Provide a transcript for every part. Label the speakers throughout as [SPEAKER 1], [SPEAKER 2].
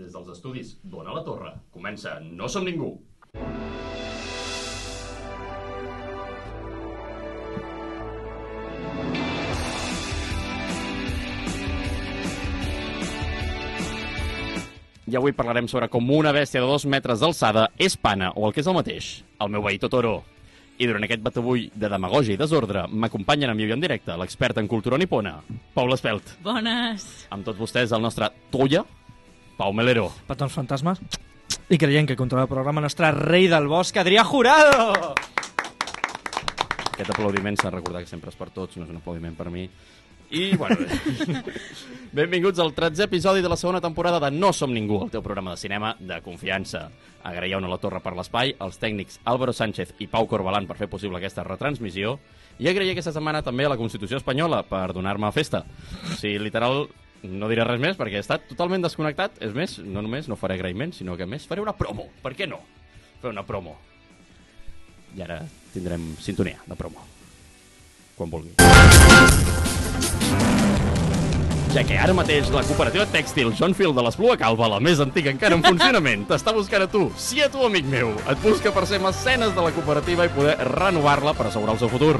[SPEAKER 1] Des dels estudis Dona la Torre comença No som ningú. I avui parlarem sobre com una bèstia de dos metres d'alçada és pana, o el que és el mateix, el meu veí Totoro. I durant aquest batavull de demagogia i desordre m'acompanyen en viu i en directe l'expert en cultura nipona, Paula Espelt.
[SPEAKER 2] Bones.
[SPEAKER 1] Amb tots vostès el nostre Toya, Pau Melero.
[SPEAKER 3] Patons fantasmes i creient que controla el programa nostre rei del bosc, Adrià Jurado!
[SPEAKER 1] Aquest aplaudiment s'ha de recordar que sempre és per tots, no és un aplaudiment per mi. I, bueno, benvinguts al 13è episodi de la segona temporada de No Som Ningú, el teu programa de cinema de confiança. Agraïeu-ne la torre per l'espai, els tècnics Álvaro Sánchez i Pau Corbalan per fer possible aquesta retransmissió, i agrair aquesta setmana també a la Constitució Espanyola per donar-me festa. O sigui, literal, no diré res més perquè he estat totalment desconnectat. És més, no només no faré agraïment, sinó que a més faré una promo. Per què no? Fer una promo. I ara tindrem sintonia de promo. Quan vulgui. Ja que ara mateix la cooperativa tèxtil John Field de l'Espluga Calva, la més antiga encara en funcionament, t'està buscant a tu, si a tu, amic meu. Et busca per ser mecenes de la cooperativa i poder renovar-la per assegurar el seu futur.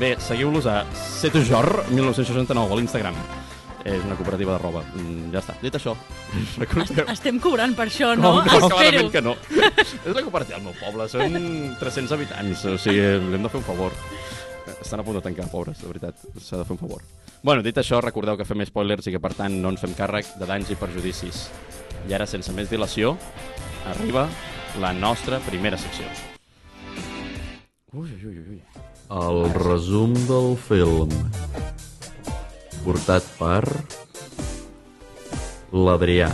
[SPEAKER 1] Bé, seguiu-los a setujor1969 a l'Instagram. És una cooperativa de roba. Mm, ja està. Dit això, recordeu...
[SPEAKER 2] Estem cobrant per això, no?
[SPEAKER 1] clarament
[SPEAKER 2] Espero.
[SPEAKER 1] que no. és la cooperativa del meu poble, són 300 habitants, o sigui, l'hem de fer un favor. Estan a punt de tancar, pobres, de veritat, s'ha de fer un favor. Bueno, dit això, recordeu que fem spoilers i que, per tant, no ens fem càrrec de danys i perjudicis. I ara, sense més dilació, arriba la nostra primera secció. Ui, ui, ui, ui.
[SPEAKER 4] El resum del film portat per l'Adrià.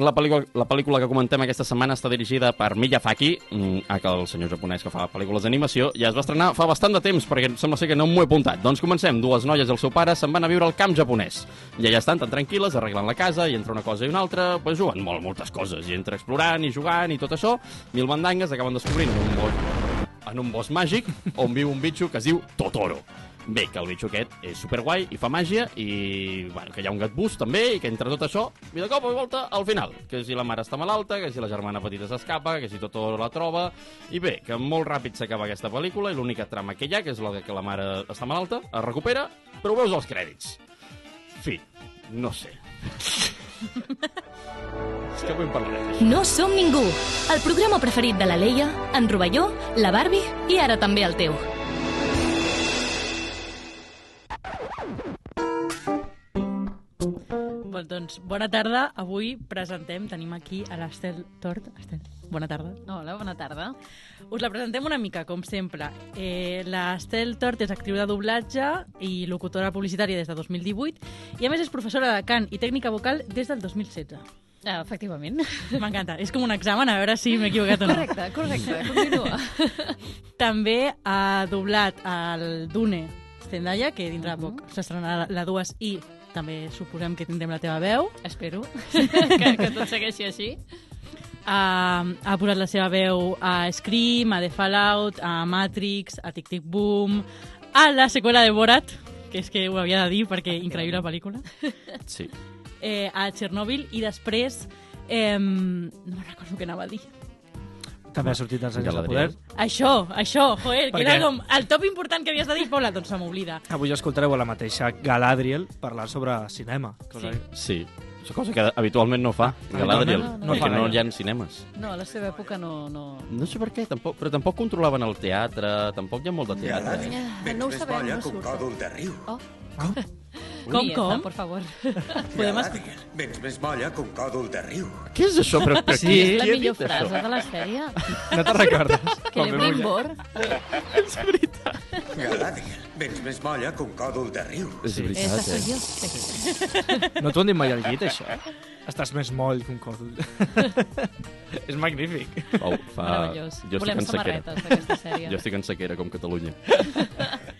[SPEAKER 1] La pel·lícula, la pel·lícula que comentem aquesta setmana està dirigida per Miyazaki, mm, aquell senyor japonès que fa pel·lícules d'animació, i es va estrenar fa bastant de temps, perquè sembla ser que no m'ho he apuntat. Doncs comencem. Dues noies i el seu pare se'n van a viure al camp japonès. I allà estan tan tranquil·les, arreglant la casa, i entre una cosa i una altra, pues, juguen molt, moltes coses. I entre explorant i jugant i tot això, mil bandangues acaben descobrint un bosc, en un bosc màgic on viu un bitxo que es diu Totoro. Bé, que el bitxo aquest és superguai i fa màgia i bueno, que hi ha un gatbús també i que entre tot això, i de cop i volta al final, que si la mare està malalta, que si la germana petita s'escapa, que si tot la troba i bé, que molt ràpid s'acaba aquesta pel·lícula i l'única trama que hi ha, que és la de que la mare està malalta, es recupera, però ho veus als crèdits. Fi, no sé. és que avui en parlarem d'això.
[SPEAKER 2] No som ningú. El programa preferit de la Leia, en Rovelló, la Barbie i ara també el teu. Bon, doncs, bona tarda. Avui presentem, tenim aquí a l'Estel Tort. Estel, bona tarda.
[SPEAKER 5] Hola, bona tarda.
[SPEAKER 2] Us la presentem una mica, com sempre. Eh, L'Estel Tort és actriu de doblatge i locutora publicitària des de 2018 i a més és professora de cant i tècnica vocal des del 2016.
[SPEAKER 5] Ah, efectivament.
[SPEAKER 2] M'encanta. És com un examen, a veure si m'he equivocat o no.
[SPEAKER 5] Correcte, correcte, continua.
[SPEAKER 2] També ha doblat el Dune Zendaya, que dintre de poc
[SPEAKER 5] Mhm.
[SPEAKER 2] s'estrenarà la 2 i també suposem que tindrem la teva veu.
[SPEAKER 5] Espero que, que tot segueixi així.
[SPEAKER 2] Ha, ha posat la seva veu a Scream, a The Fallout, a Matrix, a Tic Tic Boom, a la seqüela de Borat, que és que ho havia de dir perquè increïble pel·lícula,
[SPEAKER 1] Sí.
[SPEAKER 2] eh, a Chernobyl i després... Eh, no me'n recordo què anava a dir.
[SPEAKER 3] També ha sortit dels anys de
[SPEAKER 1] Galadriel.
[SPEAKER 3] poder.
[SPEAKER 2] Això, això, joder,
[SPEAKER 3] Per
[SPEAKER 2] que era
[SPEAKER 3] què?
[SPEAKER 2] com el top important que havies de dir, Paula, doncs se m'oblida.
[SPEAKER 3] Avui escoltareu a la mateixa Galadriel parlar sobre cinema. Cosa
[SPEAKER 2] Sí.
[SPEAKER 3] que-
[SPEAKER 1] Sí, és una cosa que habitualment no fa, Galadriel,
[SPEAKER 5] no, no, no.
[SPEAKER 1] perquè
[SPEAKER 3] No fa
[SPEAKER 1] no
[SPEAKER 3] gaire.
[SPEAKER 1] hi ha cinemes.
[SPEAKER 5] No, a la seva època no... no...
[SPEAKER 1] No sé per què, tampoc, però tampoc controlaven el teatre, tampoc hi ha molt de teatre.
[SPEAKER 5] Ah, no ho sabem, no surt.
[SPEAKER 6] còdol de riu.
[SPEAKER 3] Oh,
[SPEAKER 2] Com,
[SPEAKER 5] Diefa,
[SPEAKER 2] com?
[SPEAKER 5] Por favor.
[SPEAKER 2] Podem es-
[SPEAKER 6] Galadriel, vens més molla que un còdol de riu.
[SPEAKER 1] Què és això? Però, però qui,
[SPEAKER 5] És la
[SPEAKER 1] qui ha
[SPEAKER 5] millor
[SPEAKER 1] dit això?
[SPEAKER 5] frase de la sèrie.
[SPEAKER 3] No te'n recordes?
[SPEAKER 5] Que l'hem
[SPEAKER 3] Quan vam-
[SPEAKER 5] bor.
[SPEAKER 6] Galadriel, vens més molla que un còdol de riu.
[SPEAKER 1] És
[SPEAKER 5] Esa
[SPEAKER 1] veritat,
[SPEAKER 5] soy
[SPEAKER 1] eh?
[SPEAKER 5] yo. Sí.
[SPEAKER 3] No t'ho han dit mai al llit, això? Estàs més moll que un còdol. És magnífic.
[SPEAKER 1] Pau, fa...
[SPEAKER 5] Meravellós.
[SPEAKER 1] Jo estic
[SPEAKER 5] Volem
[SPEAKER 1] en sequera.
[SPEAKER 5] samarretes d'aquesta sèrie.
[SPEAKER 1] Jo estic en sequera, com Catalunya.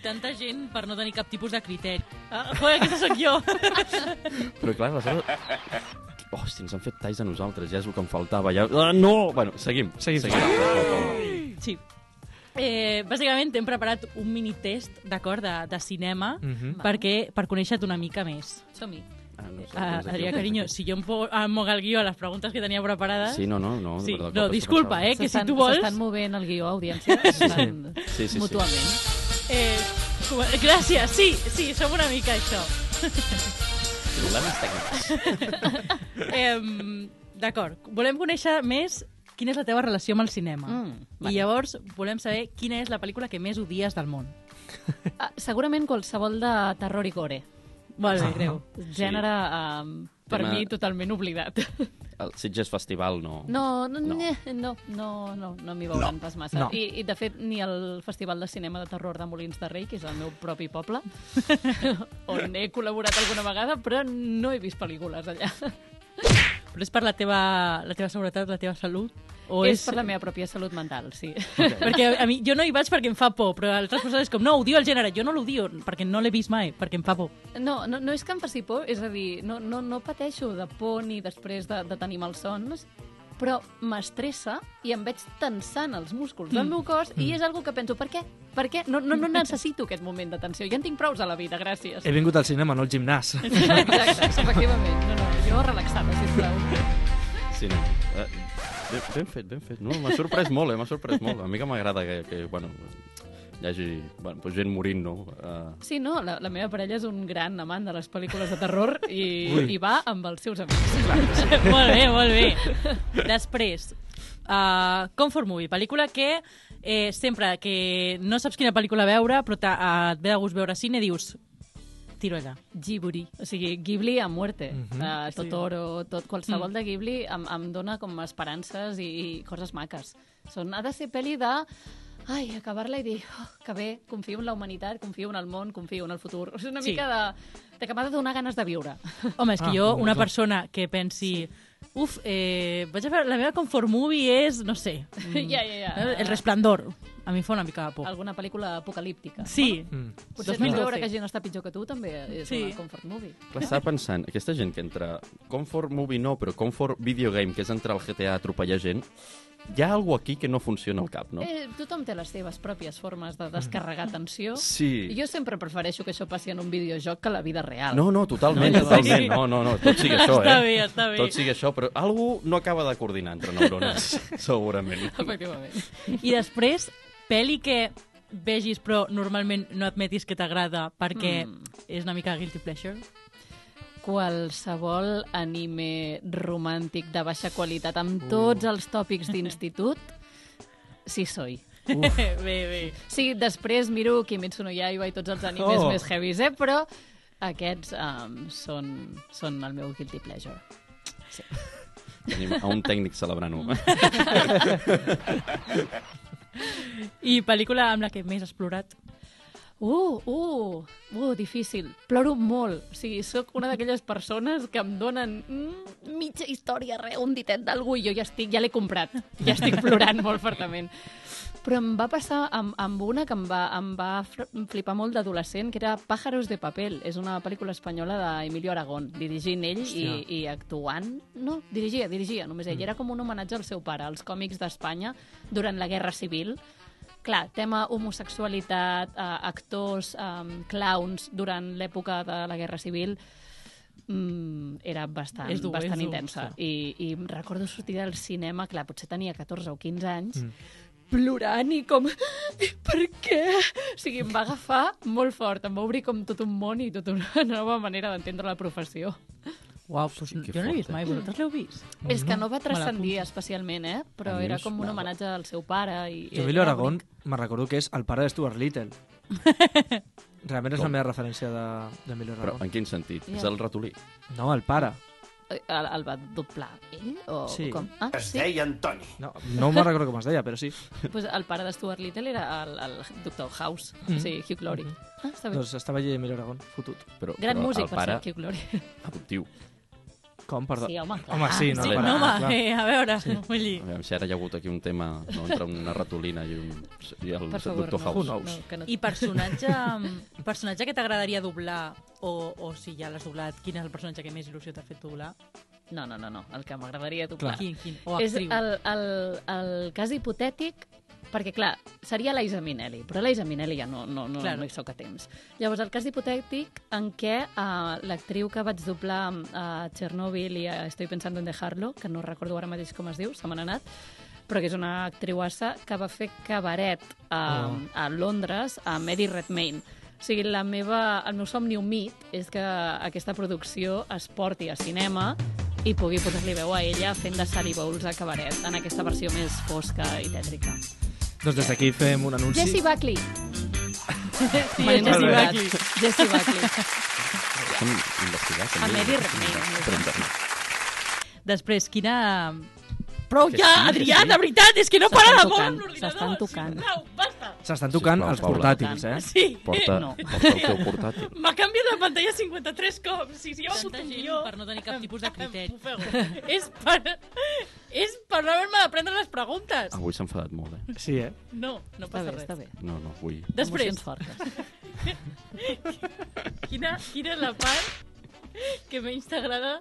[SPEAKER 2] Tanta gent per no tenir cap tipus de criteri. Ah, joder, aquesta sóc jo.
[SPEAKER 1] Però clar, aleshores... Hòstia, ens han fet talls a nosaltres, ja és el que em faltava. Ja... Ah, no! Bueno, seguim.
[SPEAKER 3] Seguim.
[SPEAKER 1] seguim.
[SPEAKER 2] Sí. Eh, bàsicament hem preparat un mini test, d'acord, de, de cinema,
[SPEAKER 3] Mhm.
[SPEAKER 5] Val.
[SPEAKER 2] perquè per conèixer-te una mica més.
[SPEAKER 5] Som-hi.
[SPEAKER 1] Ah, no sé, doncs
[SPEAKER 2] Ah,
[SPEAKER 1] aquí
[SPEAKER 2] Adrià,
[SPEAKER 1] ho tens
[SPEAKER 2] carinyo,
[SPEAKER 1] aquí.
[SPEAKER 2] si jo em po- em moc el guió a les preguntes que tenia preparades...
[SPEAKER 1] Sí, no, no, no. de
[SPEAKER 2] Sí,
[SPEAKER 1] veritat,
[SPEAKER 2] no,
[SPEAKER 1] cop,
[SPEAKER 2] disculpa, eh, que si
[SPEAKER 5] S'estan-
[SPEAKER 2] tu vols...
[SPEAKER 5] S'estan movent el guió, audiència. S'estan
[SPEAKER 1] Sí, sí, sí.
[SPEAKER 5] Mútuament.
[SPEAKER 2] Eh, com- gràcies, sí, sí, som una mica això.
[SPEAKER 1] Problemes tècnics.
[SPEAKER 2] Eh, D'acord, volem conèixer més quina és la teva relació amb el cinema.
[SPEAKER 5] Mm,
[SPEAKER 2] I
[SPEAKER 5] vale.
[SPEAKER 2] llavors volem saber quina és la pel·lícula que més odies del món.
[SPEAKER 5] Ah, segurament qualsevol de terror i gore. Ah,
[SPEAKER 2] Molt bé, greu.
[SPEAKER 5] Gènere, um, per
[SPEAKER 1] Tema-
[SPEAKER 5] mi, totalment oblidat.
[SPEAKER 1] El Sitges Festival no...
[SPEAKER 5] No, no,
[SPEAKER 1] No.
[SPEAKER 5] no, no, no, no, no m'hi veuran no. pas massa.
[SPEAKER 3] No.
[SPEAKER 5] I, I, de fet, ni al Festival de Cinema de Terror de Molins de Rei, que és el meu propi poble, on he col·laborat alguna vegada, però no he vist pel·lícules allà.
[SPEAKER 2] Però és per la teva, la teva seguretat, la teva salut? O
[SPEAKER 5] és per la meva pròpia salut mental, sí.
[SPEAKER 2] Perquè a mi, jo no hi vaig perquè em fa por, però altres persones com, no, odio el gènere, jo no l'odio perquè no l'he vist mai, perquè em fa por.
[SPEAKER 5] No, no, no és que em faci por, és a dir, no, no, no pateixo de por ni després de, de tenir malsons, però m'estressa i em veig tensant els músculs del meu cos i és algo que penso, per què? Per què? No, no, no necessito aquest moment de tensió, ja en tinc prous a la vida, gràcies.
[SPEAKER 3] He vingut al cinema, no al gimnàs.
[SPEAKER 5] Exacte, efectivament. No, no, jo relaxada, sisplau.
[SPEAKER 1] Sí, no. Eh, ben, ben fet, ben fet. No, m'ha sorprès molt, eh? M'ha sorprès molt. A mi que m'agrada que, que, bueno, hi hagi bueno, doncs gent morint, no? Uh,
[SPEAKER 5] Sí, no, la, la meva parella és un gran amant de les pel·lícules de terror i, i va amb els seus amics.
[SPEAKER 2] molt bé, molt bé. Després, uh, Comfort Movie, pel·lícula que eh, sempre que no saps quina pel·lícula veure, però t'ha- eh, et ve de gust veure cine, dius, tiro allà.
[SPEAKER 5] Ghibli. O sigui, Ghibli a muerte. Mm -hmm. uh, Totoro, tot,
[SPEAKER 2] Mm.
[SPEAKER 5] qualsevol de Ghibli em, em dona com esperances i, i coses maques. Són, ha de ser pel·li de... Ai, acabar-la i dir, oh, que bé, confio en la humanitat, confio en el món, confio en el futur. És una
[SPEAKER 2] Sí.
[SPEAKER 5] sí. mica de, de que m'ha de donar ganes de viure.
[SPEAKER 2] Home, és que
[SPEAKER 3] Ah,
[SPEAKER 2] jo,
[SPEAKER 3] molt
[SPEAKER 2] una
[SPEAKER 3] bé.
[SPEAKER 2] persona que pensi... Uf, eh, vaig a veure, la meva comfort movie és, no sé... mm,
[SPEAKER 5] Ja, ja, ja.
[SPEAKER 2] El resplendor. A mi em fa una mica de por.
[SPEAKER 5] Alguna pel·lícula apocalíptica.
[SPEAKER 2] Sí,
[SPEAKER 3] Mm.
[SPEAKER 5] Potser
[SPEAKER 2] 2012.
[SPEAKER 5] veure que gent està pitjor que tu també eh, és
[SPEAKER 2] Sí.
[SPEAKER 5] sí. una comfort movie.
[SPEAKER 1] clar, estava pensant, aquesta gent que entre Comfort Movie no, però Comfort Video Game, que és entrar al GTA a atropellar gent, hi ha alguna aquí que no funciona al cap, no?
[SPEAKER 5] Eh, tothom té les seves pròpies formes de descarregar tensió.
[SPEAKER 1] Sí.
[SPEAKER 5] Jo sempre prefereixo que això passi en un videojoc que a la vida real.
[SPEAKER 1] No, no, totalment,
[SPEAKER 2] No,
[SPEAKER 1] totalment.
[SPEAKER 2] sí.
[SPEAKER 1] No, no, no, tot sigui això, eh?
[SPEAKER 2] Està bé, està bé.
[SPEAKER 1] Tot sigui això, però algú no acaba de coordinar entre neurones, segurament.
[SPEAKER 5] Efectivament.
[SPEAKER 2] I després, pel·li que vegis però normalment no admetis que t'agrada perquè mm. és una mica guilty pleasure.
[SPEAKER 5] Qualsevol anime romàntic de baixa qualitat amb tots els tòpics d'institut, sí soy.
[SPEAKER 2] Uf. bé, bé.
[SPEAKER 5] Sí, després miro Kimetsu no Yaiba i tots els animes
[SPEAKER 3] Oh.
[SPEAKER 5] més heavies, eh? però aquests um, són, són el meu guilty pleasure.
[SPEAKER 1] Tenim a un tècnic celebrant-ho.
[SPEAKER 2] I pel·lícula amb la que més has plorat.
[SPEAKER 5] Uh, uh, uh, difícil. Ploro molt. O sigui, sóc una d'aquelles persones que em donen mm, mitja història, re, un ditet d'algú i jo ja estic, ja l'he comprat. Ja estic plorant molt fortament. Però em va passar amb, amb una que em va, em va fr- flipar molt d'adolescent, que era Pájaros de papel. És una pel·lícula espanyola d'Emilio Aragón, dirigint ell i,
[SPEAKER 3] Hòstia.
[SPEAKER 5] i actuant... No, dirigia, dirigia, només ell. Era com un homenatge al seu pare, als còmics d'Espanya, durant la Guerra Civil. Clar, tema homosexualitat, eh, actors, eh, clowns durant l'època de la Guerra Civil mm, era bastant,
[SPEAKER 2] És dur, és
[SPEAKER 5] bastant
[SPEAKER 2] dur,
[SPEAKER 5] intensa. I, I em recordo sortir del cinema, clar, potser tenia 14 o 15 anys, mm. plorant i com... Per què? O sigui, em va agafar molt fort, em va obrir com tot un món i tota una nova manera d'entendre la professió.
[SPEAKER 2] Uau, doncs
[SPEAKER 1] que
[SPEAKER 2] jo no l'he vist
[SPEAKER 1] fort, eh?
[SPEAKER 2] mai, vosaltres l'heu vist?
[SPEAKER 5] Mm. És que no va transcendir
[SPEAKER 2] l'apunto.
[SPEAKER 5] especialment, eh?
[SPEAKER 1] A
[SPEAKER 5] Però
[SPEAKER 1] mi
[SPEAKER 5] era
[SPEAKER 1] em
[SPEAKER 5] com un
[SPEAKER 1] sonava.
[SPEAKER 5] homenatge al seu pare. I,
[SPEAKER 3] Jo,
[SPEAKER 5] i
[SPEAKER 3] Emilio
[SPEAKER 5] era
[SPEAKER 3] Aragón,
[SPEAKER 5] bonic.
[SPEAKER 3] me recordo que és el pare de Stuart Little. Realment és la meva referència de- d'Emilio de
[SPEAKER 1] Però
[SPEAKER 3] Aragón.
[SPEAKER 1] en quin sentit?
[SPEAKER 5] Ja.
[SPEAKER 1] És el ratolí.
[SPEAKER 3] No, el pare.
[SPEAKER 5] eh, El, el va doblar ell? O
[SPEAKER 3] Sí.
[SPEAKER 5] com? Ah,
[SPEAKER 1] Eh.
[SPEAKER 5] sí?
[SPEAKER 3] No, no me'n recordo com es deia, però sí.
[SPEAKER 5] Pues el pare de Stuart Little era el, el Doctor House, mm.
[SPEAKER 3] Mm.
[SPEAKER 5] o sigui, Hugh Laurie. Ah, està bé.
[SPEAKER 3] Doncs estava allà Emilio Aragón, fotut.
[SPEAKER 1] Però,
[SPEAKER 5] Gran
[SPEAKER 1] però
[SPEAKER 5] músic,
[SPEAKER 1] el pare
[SPEAKER 5] per ser Hugh Laurie.
[SPEAKER 1] adoptiu.
[SPEAKER 3] Com, perdó?
[SPEAKER 5] Sí, home, clar.
[SPEAKER 3] Home, sí, no,
[SPEAKER 1] sí,
[SPEAKER 3] el pare,
[SPEAKER 2] Ah, No, home,
[SPEAKER 3] clar.
[SPEAKER 2] eh, a veure, sí. vull dir...
[SPEAKER 1] A veure, si ara hi ha hagut aquí un tema no, entre una ratolina i, un, i Doncs el
[SPEAKER 5] Per favor,
[SPEAKER 1] Dr. House.
[SPEAKER 5] no,
[SPEAKER 3] House.
[SPEAKER 5] no, que no.
[SPEAKER 2] I personatge, personatge que t'agradaria doblar o, o si ja l'has doblat, quin és el personatge que més il·lusió t'ha fet doblar?
[SPEAKER 5] no, no, no, no, el que m'agradaria
[SPEAKER 2] Clar.
[SPEAKER 5] doblar.
[SPEAKER 2] Quin, quin? O
[SPEAKER 5] És
[SPEAKER 2] actriu?
[SPEAKER 5] el, el, el cas hipotètic Perquè, clar, seria l'Aisa Minelli, però l'Aisa Minelli ja no, no, no,
[SPEAKER 2] Clar.
[SPEAKER 5] no hi sóc a temps. Llavors, el cas hipotètic en què uh, l'actriu que vaig doblar eh, a Chernobyl i a Estoy pensando en dejarlo, que no recordo ara mateix com es diu, se me n'ha anat, però que és una actriuassa que va fer cabaret a, oh. a Londres, a Mary Redmayne. O sigui, la meva, el meu somni humit és que aquesta producció es porti a cinema i pugui posar-li veu a ella fent de Sally Bowles a cabaret en aquesta versió més fosca i tètrica.
[SPEAKER 3] Doncs des d'aquí fem un anunci.
[SPEAKER 5] Jessie Buckley.
[SPEAKER 2] Sí,
[SPEAKER 5] M'he
[SPEAKER 2] és
[SPEAKER 3] Jessie
[SPEAKER 5] enredat.
[SPEAKER 2] Buckley.
[SPEAKER 5] Jessie Buckley.
[SPEAKER 1] Som investigats.
[SPEAKER 5] A Mary Redmayne.
[SPEAKER 2] Després, quina... Prou
[SPEAKER 1] Que
[SPEAKER 2] ja,
[SPEAKER 1] sí, que
[SPEAKER 2] Adrià,
[SPEAKER 1] sí.
[SPEAKER 2] de veritat, és que no para de
[SPEAKER 5] S'estan
[SPEAKER 2] moure amb
[SPEAKER 5] tocant,
[SPEAKER 2] l'ordinador.
[SPEAKER 5] s'estan tocant.
[SPEAKER 2] sisplau, basta.
[SPEAKER 3] S'estan tocant
[SPEAKER 4] Sisplau,
[SPEAKER 3] els
[SPEAKER 4] Paula.
[SPEAKER 3] portàtils, eh?
[SPEAKER 2] Sí,
[SPEAKER 4] Porta,
[SPEAKER 5] No.
[SPEAKER 4] porta el teu portàtil.
[SPEAKER 2] m'ha canviat la pantalla 53 cops. Si, si jo
[SPEAKER 7] Tanta
[SPEAKER 2] un
[SPEAKER 7] gent
[SPEAKER 2] guió,
[SPEAKER 7] per no tenir cap tipus de criteri.
[SPEAKER 2] bufego. és per... És per no haver-me d'aprendre les preguntes.
[SPEAKER 1] Avui s'ha enfadat molt, eh?
[SPEAKER 3] Sí, eh?
[SPEAKER 2] No, no
[SPEAKER 5] Està
[SPEAKER 2] passa
[SPEAKER 5] bé,
[SPEAKER 2] res.
[SPEAKER 5] està bé.
[SPEAKER 1] No, no, avui...
[SPEAKER 2] Després,
[SPEAKER 5] Emocions fortes.
[SPEAKER 2] quina, quina és la part que menys t'agrada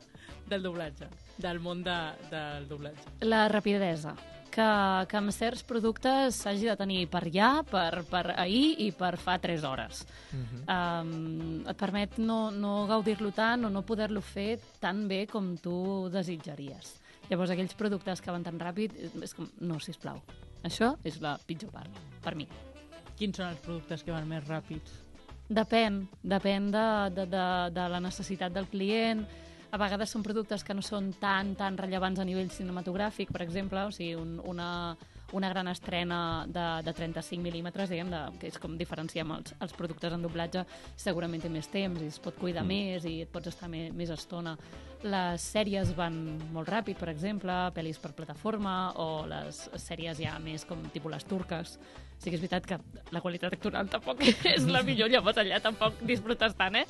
[SPEAKER 2] del doblatge? Del món de, del doblatge.
[SPEAKER 5] La rapidesa. Que, que amb certs productes s'hagi de tenir per ja, per, per ahir i per fa 3 hores. Mm -hmm. um, et permet no, no gaudir-lo tant o no poder-lo fer tan bé com tu desitjaries. Llavors, aquells productes que van tan ràpid, és com, no, sisplau. Això és la pitjor part, per mi.
[SPEAKER 2] Quins són els productes que van més ràpids?
[SPEAKER 5] Depèn, depèn de, de, de, de la necessitat del client. A vegades són productes que no són tan, tan rellevants a nivell cinematogràfic, per exemple, o sigui, un, una, una gran estrena de, de 35 mil·límetres, diguem, de, que és com diferenciem els, els productes en doblatge, segurament té més temps i es pot cuidar mm. més i et pots estar més, més estona. Les sèries van molt ràpid, per exemple, pel·lis per plataforma o les sèries ja més com tipus les turques. Sí que és veritat que la qualitat actoral tampoc és la millor, llavors allà tampoc disfrutes tant, eh?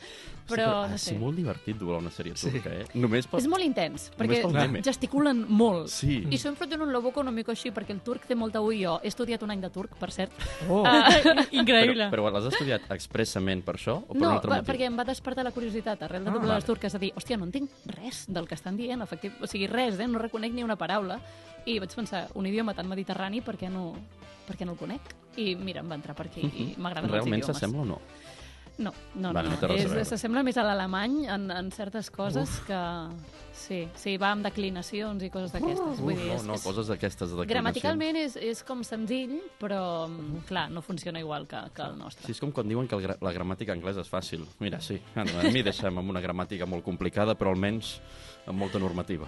[SPEAKER 5] Però,
[SPEAKER 1] ha
[SPEAKER 5] no
[SPEAKER 1] de ser
[SPEAKER 5] sé.
[SPEAKER 1] ah, molt divertit doblar una sèrie turca, eh? Només per...
[SPEAKER 5] És molt intens,
[SPEAKER 1] Només
[SPEAKER 5] perquè
[SPEAKER 1] pel meme.
[SPEAKER 5] gesticulen molt.
[SPEAKER 1] Sí.
[SPEAKER 5] I són frotent un lobo econòmic així, perquè el turc té molta ull jo. He estudiat un any de turc, per cert.
[SPEAKER 3] Oh.
[SPEAKER 2] Increïble.
[SPEAKER 1] Però, però l'has estudiat expressament per això o per
[SPEAKER 5] no,
[SPEAKER 1] un altre
[SPEAKER 5] va,
[SPEAKER 1] motiu?
[SPEAKER 5] perquè em va despertar la curiositat arrel de
[SPEAKER 3] Ah,
[SPEAKER 5] ah,
[SPEAKER 1] vale.
[SPEAKER 5] les turques, de dir, hòstia, no entenc res del que estan dient, efectiu, o sigui, res, eh? no reconec ni una paraula. I vaig pensar, un idioma tan mediterrani, per què no, per què no el conec? I mira, em va entrar per aquí i m'agraden els
[SPEAKER 1] Mhm. Realment
[SPEAKER 5] idiomes.
[SPEAKER 1] s'assembla o no?
[SPEAKER 5] No, no,
[SPEAKER 1] Vale,
[SPEAKER 5] no.
[SPEAKER 1] no té res a
[SPEAKER 5] és-
[SPEAKER 1] veure.
[SPEAKER 5] S'assembla més a l'alemany en, en certes coses Uf. que... Sí, sí, va amb declinacions i coses d'aquestes. Vull dir,
[SPEAKER 1] no,
[SPEAKER 5] és,
[SPEAKER 1] no,
[SPEAKER 5] és-
[SPEAKER 1] coses d'aquestes de
[SPEAKER 5] Gramaticalment és, és com senzill, però, clar, no funciona igual que, que el
[SPEAKER 1] Sí,
[SPEAKER 5] nostre.
[SPEAKER 1] és com quan diuen que el gra la gramàtica anglesa és fàcil. Mira, sí, a mi deixem amb una gramàtica molt complicada, però almenys amb molta normativa.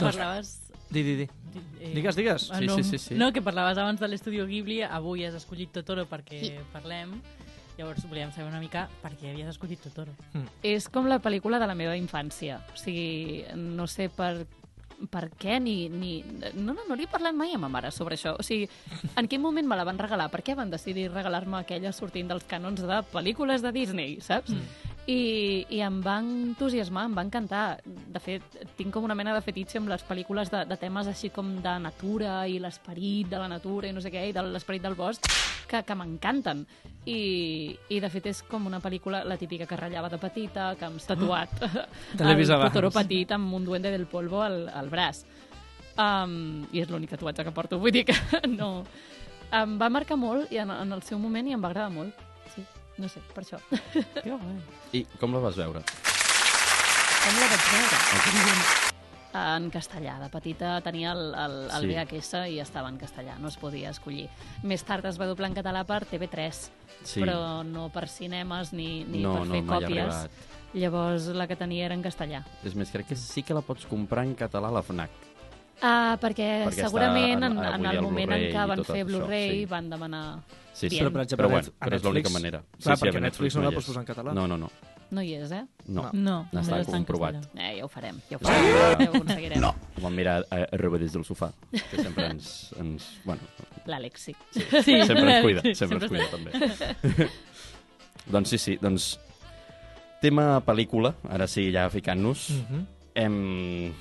[SPEAKER 2] Parlaves...
[SPEAKER 3] Di, di, di.
[SPEAKER 2] Eh,
[SPEAKER 3] doncs, Digues, digues.
[SPEAKER 1] Sí, sí, sí, sí.
[SPEAKER 2] No, que parlaves abans de l'estudio Ghibli, avui has escollit Totoro perquè sí. parlem. Llavors volíem saber una mica per què havies escollit Totoro.
[SPEAKER 5] És com la pel·lícula de la meva infància. O sigui, no sé per, per què ni, ni... No, no, no li he parlat mai a ma mare sobre això. O sigui, en quin moment me la van regalar? Per què van decidir regalar-me aquella sortint dels canons de pel·lícules de Disney, saps? Mm. I, I em va entusiasmar, em va encantar. De fet, tinc com una mena de fetitxe amb les pel·lícules de, de temes així com de natura i l'esperit de la natura i no sé què, i de l'esperit del bosc, que, que m'encanten. I, I, de fet, és com una pel·lícula, la típica que ratllava de petita, que hem tatuat
[SPEAKER 3] Te l'he
[SPEAKER 5] el
[SPEAKER 3] vist abans.
[SPEAKER 5] Totoro petit amb un duende del polvo al, al braç. Um, I és l'únic tatuatge que porto, vull dir que no... Em va marcar molt i en, en el seu moment i em va agradar molt. Sí, no sé, per això.
[SPEAKER 2] Que guai.
[SPEAKER 1] I com la vas veure?
[SPEAKER 5] Com la vaig veure? En castellà. De petita tenia el, el,
[SPEAKER 1] Sí.
[SPEAKER 5] el sí. VHS i estava en castellà, no es podia escollir. Més tard es va doblar en català per TV3,
[SPEAKER 1] Sí.
[SPEAKER 5] sí. però no per cinemes ni, ni
[SPEAKER 1] No,
[SPEAKER 5] per
[SPEAKER 1] no, mai
[SPEAKER 5] fer
[SPEAKER 1] ha
[SPEAKER 5] còpies.
[SPEAKER 1] arribat.
[SPEAKER 5] Llavors la que tenia era en castellà.
[SPEAKER 1] És més, crec que sí que la pots comprar en català a la FNAC.
[SPEAKER 5] Ah, perquè,
[SPEAKER 1] Perquè està
[SPEAKER 5] segurament en,
[SPEAKER 1] en- avui
[SPEAKER 5] en
[SPEAKER 1] el
[SPEAKER 5] el moment en
[SPEAKER 1] Blu-ray
[SPEAKER 5] què
[SPEAKER 1] i
[SPEAKER 5] van
[SPEAKER 1] tot
[SPEAKER 5] fer
[SPEAKER 1] això,
[SPEAKER 5] Blu-ray
[SPEAKER 1] sí.
[SPEAKER 5] van demanar...
[SPEAKER 1] Sí, sí.
[SPEAKER 5] Bien.
[SPEAKER 1] Però,
[SPEAKER 3] Però, per exemple,
[SPEAKER 1] però, bueno,
[SPEAKER 3] a
[SPEAKER 1] però és l'única
[SPEAKER 3] Netflix-
[SPEAKER 1] manera.
[SPEAKER 3] Clar, perquè
[SPEAKER 1] a
[SPEAKER 3] Netflix no la
[SPEAKER 1] hi
[SPEAKER 3] pots
[SPEAKER 1] és.
[SPEAKER 3] posar en català.
[SPEAKER 1] No, no, no.
[SPEAKER 5] No hi és, eh?
[SPEAKER 1] no.
[SPEAKER 2] No,
[SPEAKER 1] Està
[SPEAKER 2] només en
[SPEAKER 1] comprovat.
[SPEAKER 2] castellà.
[SPEAKER 5] Eh, ja ho farem, ja ho farem, ja ho aconseguirem. No.
[SPEAKER 1] Ho vam mirar eh, a, a Rebe des del sofà, que sempre ens... ens bueno,
[SPEAKER 5] L'Àlex, sí.
[SPEAKER 2] Sí,
[SPEAKER 1] sempre ens cuida,
[SPEAKER 2] sí,
[SPEAKER 1] sempre ens cuida, també. doncs sí, sí, doncs... Tema pel·lícula, ara sí, ja ficant-nos.
[SPEAKER 3] Mhm.
[SPEAKER 1] Em...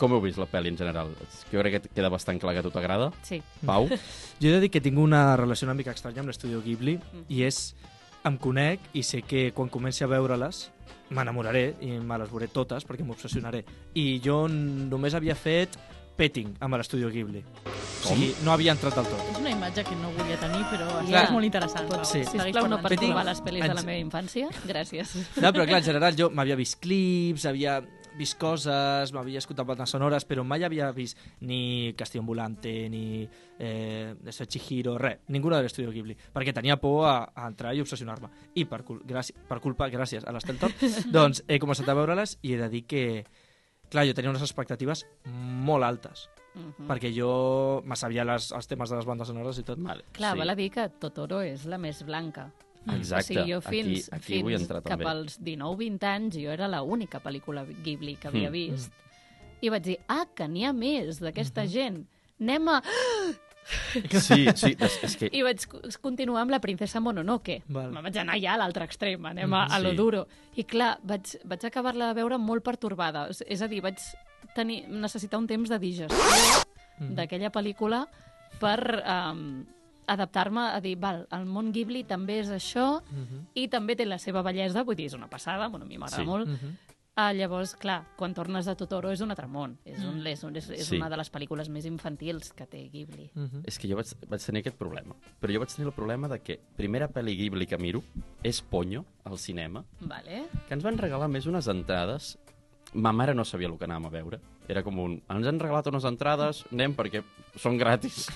[SPEAKER 1] Com heu vist la pel·li en general? És que Jo crec que queda bastant clar que a tu t'agrada.
[SPEAKER 5] Sí.
[SPEAKER 1] Pau?
[SPEAKER 3] Jo he de dir que tinc una relació una mica estranya amb l'estudio Ghibli i és... Em conec i sé que quan comenci a veure-les m'enamoraré i me les veuré totes perquè m'obsessionaré. I jo n- només havia fet petting amb l'Estudio Ghibli. O sigui, no havia entrat del tot.
[SPEAKER 2] És una imatge que no volia tenir, però
[SPEAKER 5] Ja.
[SPEAKER 2] yeah. és molt interessant. Pau.
[SPEAKER 3] Sí.
[SPEAKER 2] Segueix
[SPEAKER 5] Sisplau, no
[SPEAKER 2] parlant.
[SPEAKER 5] pertorbar
[SPEAKER 3] Petit-
[SPEAKER 5] les pel·lis de la
[SPEAKER 3] ens-
[SPEAKER 5] meva infància. Gràcies.
[SPEAKER 3] No, però clar, en general jo m'havia vist clips, havia vist coses, m'havia escoltat bandes sonores, però mai havia vist ni Castillo Ambulante, ni eh, Eso de Chihiro, res, ninguna de l'Estudio Ghibli, perquè tenia por a, a entrar i obsessionar-me. I per, cul gràcies, per culpa, gràcies a l'Esteltop, doncs he començat a veure-les i he de dir que, clar, jo tenia unes expectatives molt altes,
[SPEAKER 5] Mhm.
[SPEAKER 3] perquè jo me sabia les, els temes de les bandes sonores i tot.
[SPEAKER 1] Vale,
[SPEAKER 5] Clar,
[SPEAKER 1] sí.
[SPEAKER 5] sí. val a dir que Totoro és la més blanca.
[SPEAKER 1] Exacte,
[SPEAKER 5] o sigui, jo
[SPEAKER 1] aquí-
[SPEAKER 5] fins,
[SPEAKER 1] aquí
[SPEAKER 5] fins
[SPEAKER 1] vull entrar
[SPEAKER 5] cap
[SPEAKER 1] també.
[SPEAKER 5] als 19-20 anys jo era la única pel·lícula Ghibli que havia
[SPEAKER 1] Mm. Mhm.
[SPEAKER 5] vist. I vaig dir, ah, que n'hi ha més d'aquesta gent. Anem a...
[SPEAKER 1] Sí, sí, és, és que...
[SPEAKER 5] I vaig co- continuar amb la princesa Mononoke.
[SPEAKER 3] Val.
[SPEAKER 5] Me vaig anar ja a l'altre extrem, anem a, a lo
[SPEAKER 1] Mm, Sí.
[SPEAKER 5] duro. I clar, vaig, vaig acabar-la de veure molt pertorbada. És- És a dir, vaig tenir, necessitar un temps de digestió
[SPEAKER 1] Mm.
[SPEAKER 5] d'aquella pel·lícula per um, adaptar-me a dir, val, el món Ghibli també és això
[SPEAKER 3] Mhm,
[SPEAKER 5] i també té la seva bellesa, vull dir, és una passada, bueno, a mi m'agrada
[SPEAKER 1] Sí.
[SPEAKER 5] molt.
[SPEAKER 3] Mhm.
[SPEAKER 5] Ah, llavors, clar, quan tornes a Totoro és un altre món. És, un, és, un, és, és
[SPEAKER 1] Mm. Sí.
[SPEAKER 5] una de les pel·lícules més infantils que té Ghibli.
[SPEAKER 3] Mhm.
[SPEAKER 1] És que jo vaig, vaig tenir aquest problema. Però jo vaig tenir el problema de que primera pel·li Ghibli que miro és Ponyo, al cinema,
[SPEAKER 5] Vale?
[SPEAKER 1] que ens van regalar més unes entrades. Ma mare no sabia el que anàvem a veure. Era com un... Ens han regalat unes entrades, anem perquè són gratis.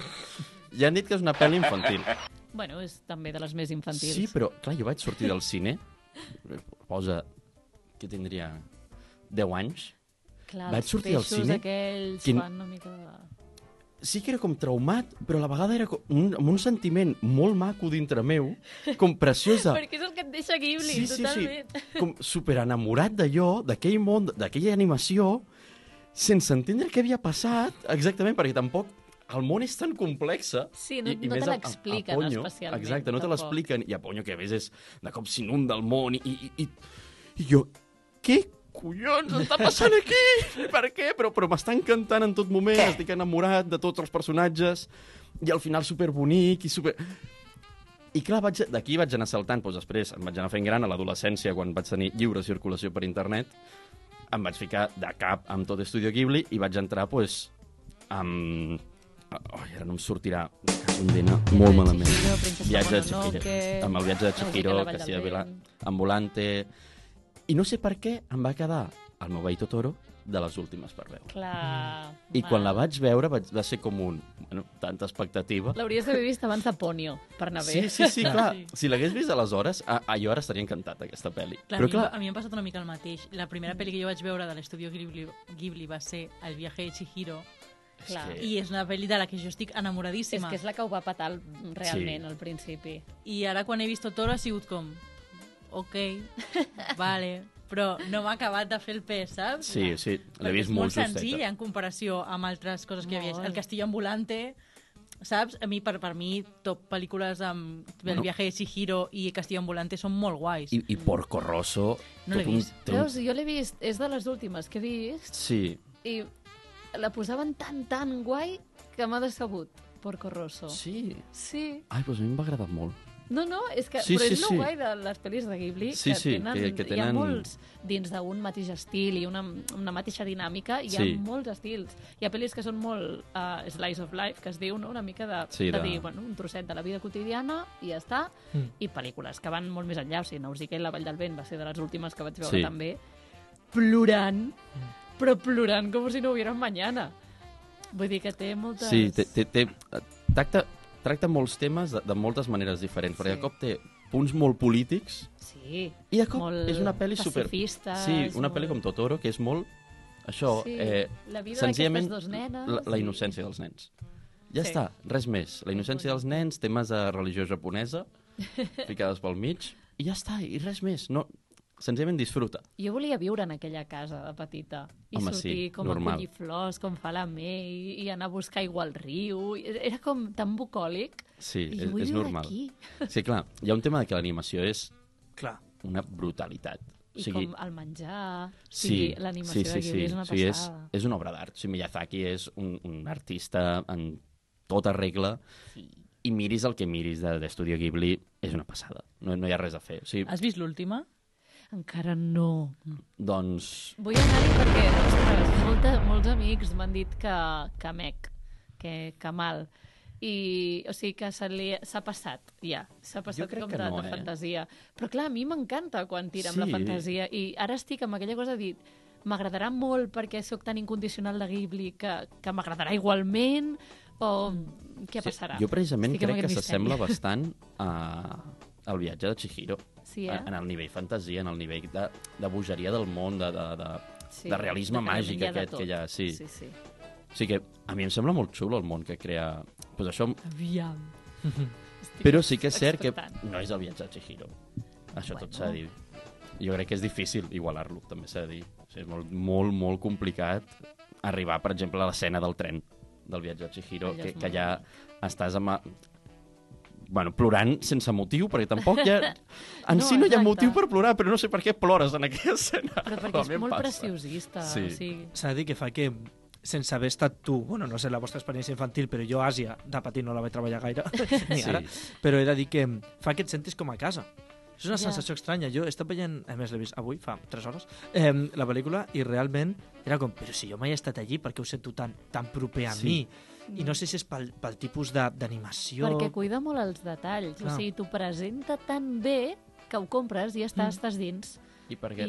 [SPEAKER 1] I han dit que és una pel·li infantil.
[SPEAKER 5] Bueno, és també de les més infantils.
[SPEAKER 1] Sí, però, clar, jo vaig sortir del cine, posa que tindria 10 anys,
[SPEAKER 5] Clar,
[SPEAKER 1] Vaig
[SPEAKER 5] els
[SPEAKER 1] sortir al
[SPEAKER 5] peixos
[SPEAKER 1] cine,
[SPEAKER 5] aquells
[SPEAKER 1] quin-
[SPEAKER 5] Quin... fan una mica... de-
[SPEAKER 1] sí que era com traumat, però a la vegada era com un, amb un sentiment molt maco dintre meu, com preciós de...
[SPEAKER 5] Perquè és el que et deixa Ghibli, totalment.
[SPEAKER 1] Ah. sí. Com super enamorat d'allò, d'aquell món, d'aquella animació, sense entendre què havia passat, exactament, perquè tampoc el món és tan complex. eh?
[SPEAKER 5] Sí, no- no te
[SPEAKER 1] més a- a-
[SPEAKER 5] l'expliquen
[SPEAKER 1] a Ponyo,
[SPEAKER 5] especialment,
[SPEAKER 1] Exacte, no te
[SPEAKER 5] tampoc.
[SPEAKER 1] l'expliquen. I a Ponyo, que a més és de cop s'inunda el món i, i, i, i jo... Què collons està passant aquí? Per què? Però, però m'està encantant en tot moment, què? estic enamorat de tots els personatges i al final superbonic i super... I clar, vaig, d'aquí vaig anar saltant, doncs després em vaig anar fent gran a l'adolescència quan vaig tenir lliure circulació per internet, em vaig ficar de cap amb tot Estudio Ghibli i vaig entrar, doncs, amb... Oh, ara no em sortirà me cago en Dena, molt
[SPEAKER 5] de
[SPEAKER 1] malament.
[SPEAKER 5] Chihiro, Princesa
[SPEAKER 1] viatge de
[SPEAKER 5] Mononoke,
[SPEAKER 1] Chihiro. Amb el viatge de
[SPEAKER 5] Música
[SPEAKER 1] Chihiro,
[SPEAKER 5] a la Vall
[SPEAKER 1] que
[SPEAKER 5] del
[SPEAKER 1] s'hi ha
[SPEAKER 5] Vent.
[SPEAKER 1] ambulante... I no sé per què em va quedar el meu veí Totoro de les últimes per veure.
[SPEAKER 5] Clar.
[SPEAKER 1] I
[SPEAKER 5] mal.
[SPEAKER 1] quan la vaig veure vaig, va ser com un... Bueno, tanta expectativa.
[SPEAKER 5] L'hauries d'haver vist abans de Ponyo, per anar bé.
[SPEAKER 1] Sí, sí, sí, clar.
[SPEAKER 2] Sí.
[SPEAKER 1] Si l'hagués vist aleshores, a, a jo ara estaria encantat aquesta pel·li.
[SPEAKER 2] Clar,
[SPEAKER 1] Però
[SPEAKER 2] a, mi,
[SPEAKER 1] clar,
[SPEAKER 2] a mi em ha passat una mica el mateix. La primera pel·li que jo vaig veure de l'estudio Ghibli, Ghibli va ser El viaje de Chihiro,
[SPEAKER 5] clar.
[SPEAKER 1] és que...
[SPEAKER 2] i és una pel·li de la que jo estic
[SPEAKER 5] És
[SPEAKER 2] enamoradíssima.
[SPEAKER 5] que és la que ho va patar el- realment
[SPEAKER 1] Sí.
[SPEAKER 5] al principi.
[SPEAKER 2] I ara quan he vist Totoro ha sigut com... Ok, vale, però no m'ha acabat de fer el pes, saps?
[SPEAKER 1] Sí, sí, l'he
[SPEAKER 2] Perquè
[SPEAKER 1] vist molt
[SPEAKER 2] és
[SPEAKER 1] eh.
[SPEAKER 2] molt
[SPEAKER 1] justeta.
[SPEAKER 2] senzill en comparació amb altres coses que hi havia.
[SPEAKER 5] Molt.
[SPEAKER 2] El Castillo Ambulante, saps? A mi, per, per mi, top pel·lícules amb El
[SPEAKER 1] Bueno.
[SPEAKER 2] viaje de Chihiro i Castillo Ambulante són molt guais.
[SPEAKER 1] I, I Porco Rosso...
[SPEAKER 2] No l'he
[SPEAKER 1] tot un-
[SPEAKER 2] vist.
[SPEAKER 1] té un-
[SPEAKER 5] Veus, jo l'he vist, és de les últimes que he vist,
[SPEAKER 1] Sí,
[SPEAKER 5] i la posaven tan, tan guai que m'ha decebut, Porco Rosso.
[SPEAKER 1] sí.
[SPEAKER 5] sí.
[SPEAKER 1] Ai, doncs a mi em va agradar molt.
[SPEAKER 5] No, no, és que
[SPEAKER 1] Sí,
[SPEAKER 5] sí, però
[SPEAKER 1] sí,
[SPEAKER 5] és sí,
[SPEAKER 1] sí.
[SPEAKER 5] lo guai de les pel·lis de Ghibli,
[SPEAKER 1] Sí,
[SPEAKER 5] que,
[SPEAKER 1] sí,
[SPEAKER 5] tenen,
[SPEAKER 1] que- que
[SPEAKER 5] hi ha
[SPEAKER 1] tenen-
[SPEAKER 5] molts dins d'un mateix estil i una, una mateixa dinàmica, hi ha
[SPEAKER 1] Sí.
[SPEAKER 5] molts estils. Hi ha pel·lis que són molt uh, slice of life, que es diu, no?, una mica de,
[SPEAKER 1] Sí,
[SPEAKER 5] de...
[SPEAKER 1] de-
[SPEAKER 5] dir, bueno, un trosset de la vida quotidiana i ja està,
[SPEAKER 3] Mm.
[SPEAKER 5] i pel·lícules que van molt més enllà, o sigui, Nausicaa i la Vall del Vent va ser de les últimes que vaig veure
[SPEAKER 1] Sí.
[SPEAKER 5] també, plorant, però plorant com si no ho vieran mañana. Vull dir que té
[SPEAKER 2] Doncs.
[SPEAKER 5] moltes...
[SPEAKER 1] Sí, té, té, té, tracta, tracta molts temes de, de moltes maneres diferents, perquè
[SPEAKER 5] Sí.
[SPEAKER 1] de cop té punts molt polítics
[SPEAKER 5] Sí,
[SPEAKER 1] i de cop
[SPEAKER 5] Molt
[SPEAKER 1] és una pel·li super...
[SPEAKER 5] pacifista,
[SPEAKER 1] Sí,
[SPEAKER 5] és
[SPEAKER 1] una
[SPEAKER 5] molt-
[SPEAKER 1] pel·li com Totoro, que és molt... Això,
[SPEAKER 5] Sí,
[SPEAKER 1] eh,
[SPEAKER 5] la vida
[SPEAKER 1] senzillament,
[SPEAKER 5] d'aquestes dos nenes,
[SPEAKER 1] la, la
[SPEAKER 5] i-
[SPEAKER 1] innocència dels nens. Ja sí.
[SPEAKER 5] Sí.
[SPEAKER 1] està, res més. La innocència dels nens, temes de religió japonesa, ficades pel mig, i ja està, i res més. No, senzillament disfruta.
[SPEAKER 5] Jo volia viure en aquella casa de petita i
[SPEAKER 1] Home,
[SPEAKER 5] sortir
[SPEAKER 1] sí,
[SPEAKER 5] com
[SPEAKER 1] normal.
[SPEAKER 5] a collir flors, com fa la May, i anar a buscar aigua al riu. I Era com tan bucòlic.
[SPEAKER 1] Sí,
[SPEAKER 5] I
[SPEAKER 1] és,
[SPEAKER 5] vull
[SPEAKER 1] és
[SPEAKER 5] viure
[SPEAKER 1] normal.
[SPEAKER 5] aquí.
[SPEAKER 1] Sí, clar, hi ha un tema de que l'animació és
[SPEAKER 3] Clar.
[SPEAKER 1] una brutalitat.
[SPEAKER 5] I com el menjar. Sí, l'animació
[SPEAKER 1] sí, sí,
[SPEAKER 5] de Ghibli
[SPEAKER 1] sí.
[SPEAKER 5] és una
[SPEAKER 1] O sigui, és,
[SPEAKER 5] passada.
[SPEAKER 1] és una obra d'art. O sigui, Miyazaki és un, un artista en tota regla sí. i miris el que miris de- d'Estudio Ghibli, és una passada. No, no hi ha res a fer. O sigui,
[SPEAKER 2] Has vist l'última? Encara no.
[SPEAKER 1] Doncs...
[SPEAKER 5] Vull anar-hi perquè, ostres, molta, molts amics m'han dit que, que mec, que, que mal. I, o sigui, que se li s'ha passat, ja. S'ha passat
[SPEAKER 1] crec
[SPEAKER 5] com
[SPEAKER 1] que
[SPEAKER 5] de,
[SPEAKER 1] no,
[SPEAKER 5] de
[SPEAKER 1] eh?
[SPEAKER 5] fantasia. Però clar, a mi m'encanta quan tira amb la
[SPEAKER 1] Sí.
[SPEAKER 5] fantasia. I ara estic amb aquella cosa de dir m'agradarà molt perquè sóc tan incondicional de Ghibli que, que m'agradarà igualment o què passarà?
[SPEAKER 1] Mm. Jo precisament
[SPEAKER 5] Estic amb
[SPEAKER 1] crec que
[SPEAKER 5] aquest
[SPEAKER 1] s'assembla
[SPEAKER 5] misteri.
[SPEAKER 1] bastant a... al viatge de Chihiro.
[SPEAKER 5] Sí, eh?
[SPEAKER 1] en, en el nivell fantasia, en el nivell de, de bogeria del món, de, de, de...
[SPEAKER 5] Sí,
[SPEAKER 1] de realisme
[SPEAKER 5] totalment,
[SPEAKER 1] màgic
[SPEAKER 5] hi ha de
[SPEAKER 1] aquest que
[SPEAKER 5] tot.
[SPEAKER 1] hi ha, sí.
[SPEAKER 5] sí, sí.
[SPEAKER 1] O sigui que a mi em sembla molt xulo el món que crea... Pues això,
[SPEAKER 2] Aviam.
[SPEAKER 5] Estic
[SPEAKER 1] però sí que és cert que
[SPEAKER 5] expectant.
[SPEAKER 1] no és el viatge de Chihiro. Això
[SPEAKER 5] Bueno.
[SPEAKER 1] tot s'ha de dir. Jo crec que és difícil igualar-lo, també s'ha de dir. O sigui, és molt, molt, molt complicat arribar, per exemple, a l'escena del tren del viatge de Chihiro,
[SPEAKER 5] Allò és
[SPEAKER 1] que,
[SPEAKER 5] molt
[SPEAKER 1] que ja estàs amb... Bueno, plorant sense motiu, perquè tampoc hi ha... En
[SPEAKER 5] No,
[SPEAKER 1] si no hi ha
[SPEAKER 5] exacte.
[SPEAKER 1] motiu per plorar, però no sé per què plores en aquella escena.
[SPEAKER 5] Però perquè
[SPEAKER 1] A mi
[SPEAKER 5] és
[SPEAKER 1] em
[SPEAKER 5] molt
[SPEAKER 1] passa.
[SPEAKER 5] preciosista.
[SPEAKER 1] Sí.
[SPEAKER 5] O sigui,
[SPEAKER 3] S'ha de dir que fa que sense haver estat tu, bueno, no sé la vostra experiència infantil, però jo a Àsia de petit no la vaig treballar gaire, ni
[SPEAKER 1] Sí.
[SPEAKER 3] ara, però he de dir que fa que et sentis com a casa. És una
[SPEAKER 5] Ja.
[SPEAKER 3] sensació estranya. Jo he estat veient, a més l'he vist avui, fa 3 hores, eh, la pel·lícula i realment era com, però si jo mai he estat allí, per què ho sento tan, tan proper a
[SPEAKER 1] Sí. Mm.
[SPEAKER 3] sí. mi? I no sé si és pel, pel tipus de- d'animació...
[SPEAKER 5] Perquè cuida molt els detalls.
[SPEAKER 3] Clar.
[SPEAKER 5] O sigui, t'ho presenta tan bé que ho compres i ja
[SPEAKER 3] Mm.
[SPEAKER 5] estàs, estàs dins.
[SPEAKER 1] I perquè...
[SPEAKER 5] I,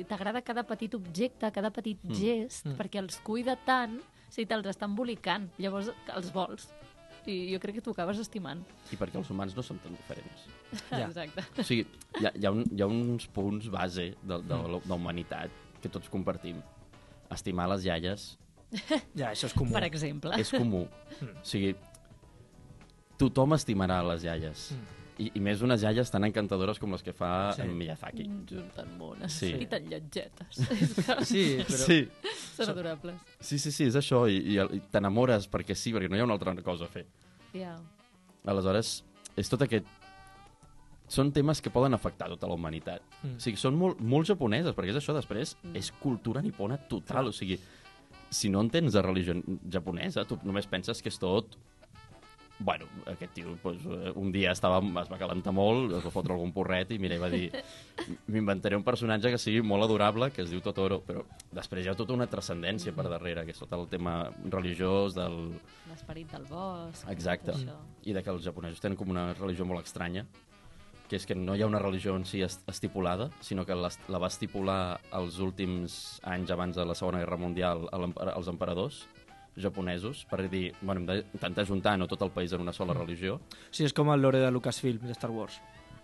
[SPEAKER 5] i t'agrada cada petit objecte, cada petit gest,
[SPEAKER 3] Mm.
[SPEAKER 5] perquè els cuida tant, o sigui, te'ls està embolicant. Llavors els vols. I jo crec que t'ho acabes estimant.
[SPEAKER 1] I perquè els humans no són tan diferents.
[SPEAKER 3] Ja.
[SPEAKER 5] Exacte.
[SPEAKER 1] O sigui, hi ha, hi ha, un, hi ha uns punts base de, de, la- de humanitat que tots compartim. Estimar les iaies
[SPEAKER 3] Ja, això és comú.
[SPEAKER 5] Per exemple.
[SPEAKER 1] és comú. O sigui, tothom estimarà les iaies. I, i més unes iaies tan encantadores com les que fa
[SPEAKER 3] Sí.
[SPEAKER 1] sí. en Miyazaki.
[SPEAKER 5] Són tan bones
[SPEAKER 1] Sí.
[SPEAKER 5] i tan lletgetes. És que
[SPEAKER 3] Sí, però...
[SPEAKER 1] Sí,
[SPEAKER 5] Són adorables.
[SPEAKER 1] sí, sí, sí, és això. I, i, i t'enamores perquè sí, perquè no hi ha una altra cosa a fer.
[SPEAKER 5] Ja.
[SPEAKER 1] Aleshores, és tot aquest... Són temes que poden afectar tota la humanitat. Mm. O sigui, són molt, molt japoneses, perquè és això després, mm. és cultura nipona total. O sigui, si no entens de religió japonesa, tu només penses que és tot... Bueno, aquest tio doncs, eh, un dia estava, es va calentar molt, es va fotre algun porret i mira, i va dir m'inventaré un personatge que sigui molt adorable, que es diu Totoro, però després hi ha tota una transcendència per darrere, que és tot el tema religiós del,
[SPEAKER 5] L'esperit del bosc.
[SPEAKER 1] Exacte.
[SPEAKER 5] tot això.
[SPEAKER 1] I de que els japonesos tenen com una religió molt estranya, que és que no hi ha una religió en si est- estipulada, sinó que l'es- la va estipular els últims anys abans de la Segona Guerra Mundial a l'empera- als emperadors japonesos per dir, bueno, hem d'intentar juntar no tot el país en una sola religió.
[SPEAKER 3] Sí, és com el lore de Lucasfilm, de Star Wars.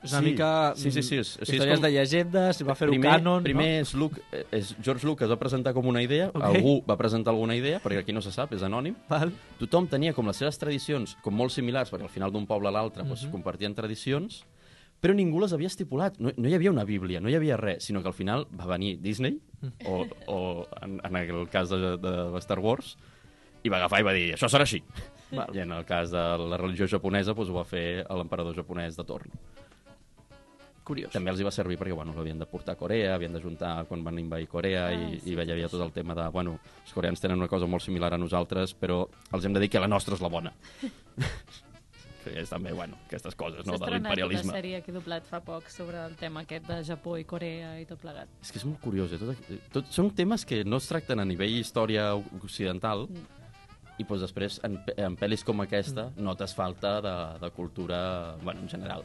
[SPEAKER 3] És
[SPEAKER 1] Sí,
[SPEAKER 3] una mica...
[SPEAKER 1] sí, sí, sí, és-
[SPEAKER 3] mm,
[SPEAKER 1] o sigui, és
[SPEAKER 3] històries
[SPEAKER 1] com-
[SPEAKER 3] de llegendes, si va fer-ho canon...
[SPEAKER 1] primer és Luke, eh, és George Lucas va presentar com una idea,
[SPEAKER 3] Ok.
[SPEAKER 1] okay. algú va presentar alguna idea, perquè aquí no se sap, és anònim,
[SPEAKER 3] No? Val.
[SPEAKER 1] tothom tenia com les seves tradicions com molt similars, perquè al final d'un poble a l'altre mm -hmm.
[SPEAKER 3] Mhm.
[SPEAKER 1] doncs, compartien tradicions, però ningú les havia estipulat. No, no hi havia una Bíblia, no hi havia res, sinó que al final va venir Disney, o, o en, en el cas de, de Star Wars, i va agafar i va dir, això serà així. Val. I en el cas de la religió japonesa doncs, ho va fer l'emperador japonès de torn.
[SPEAKER 3] Curiós.
[SPEAKER 1] També els hi va servir perquè bueno, l'havien de portar a Corea, havien d'ajuntar quan van invadir Corea ah, i, sí, i hi havia tot el tema de, bueno, els coreans tenen una cosa molt similar a nosaltres, però els hem de dir que la nostra és la bona. que és també, bueno, aquestes coses, no?, de
[SPEAKER 5] S'ha estrenat una
[SPEAKER 1] l'imperialisme.
[SPEAKER 5] sèrie que he doblat fa poc sobre el tema aquest de Japó i Corea i tot plegat.
[SPEAKER 1] És que és molt curiós, eh? Tot, aqu- tot, són temes que no es tracten a nivell història occidental, mm. i doncs, després, en, pe- en pel·lis com aquesta, mm. notes falta de, de cultura, bueno, en general,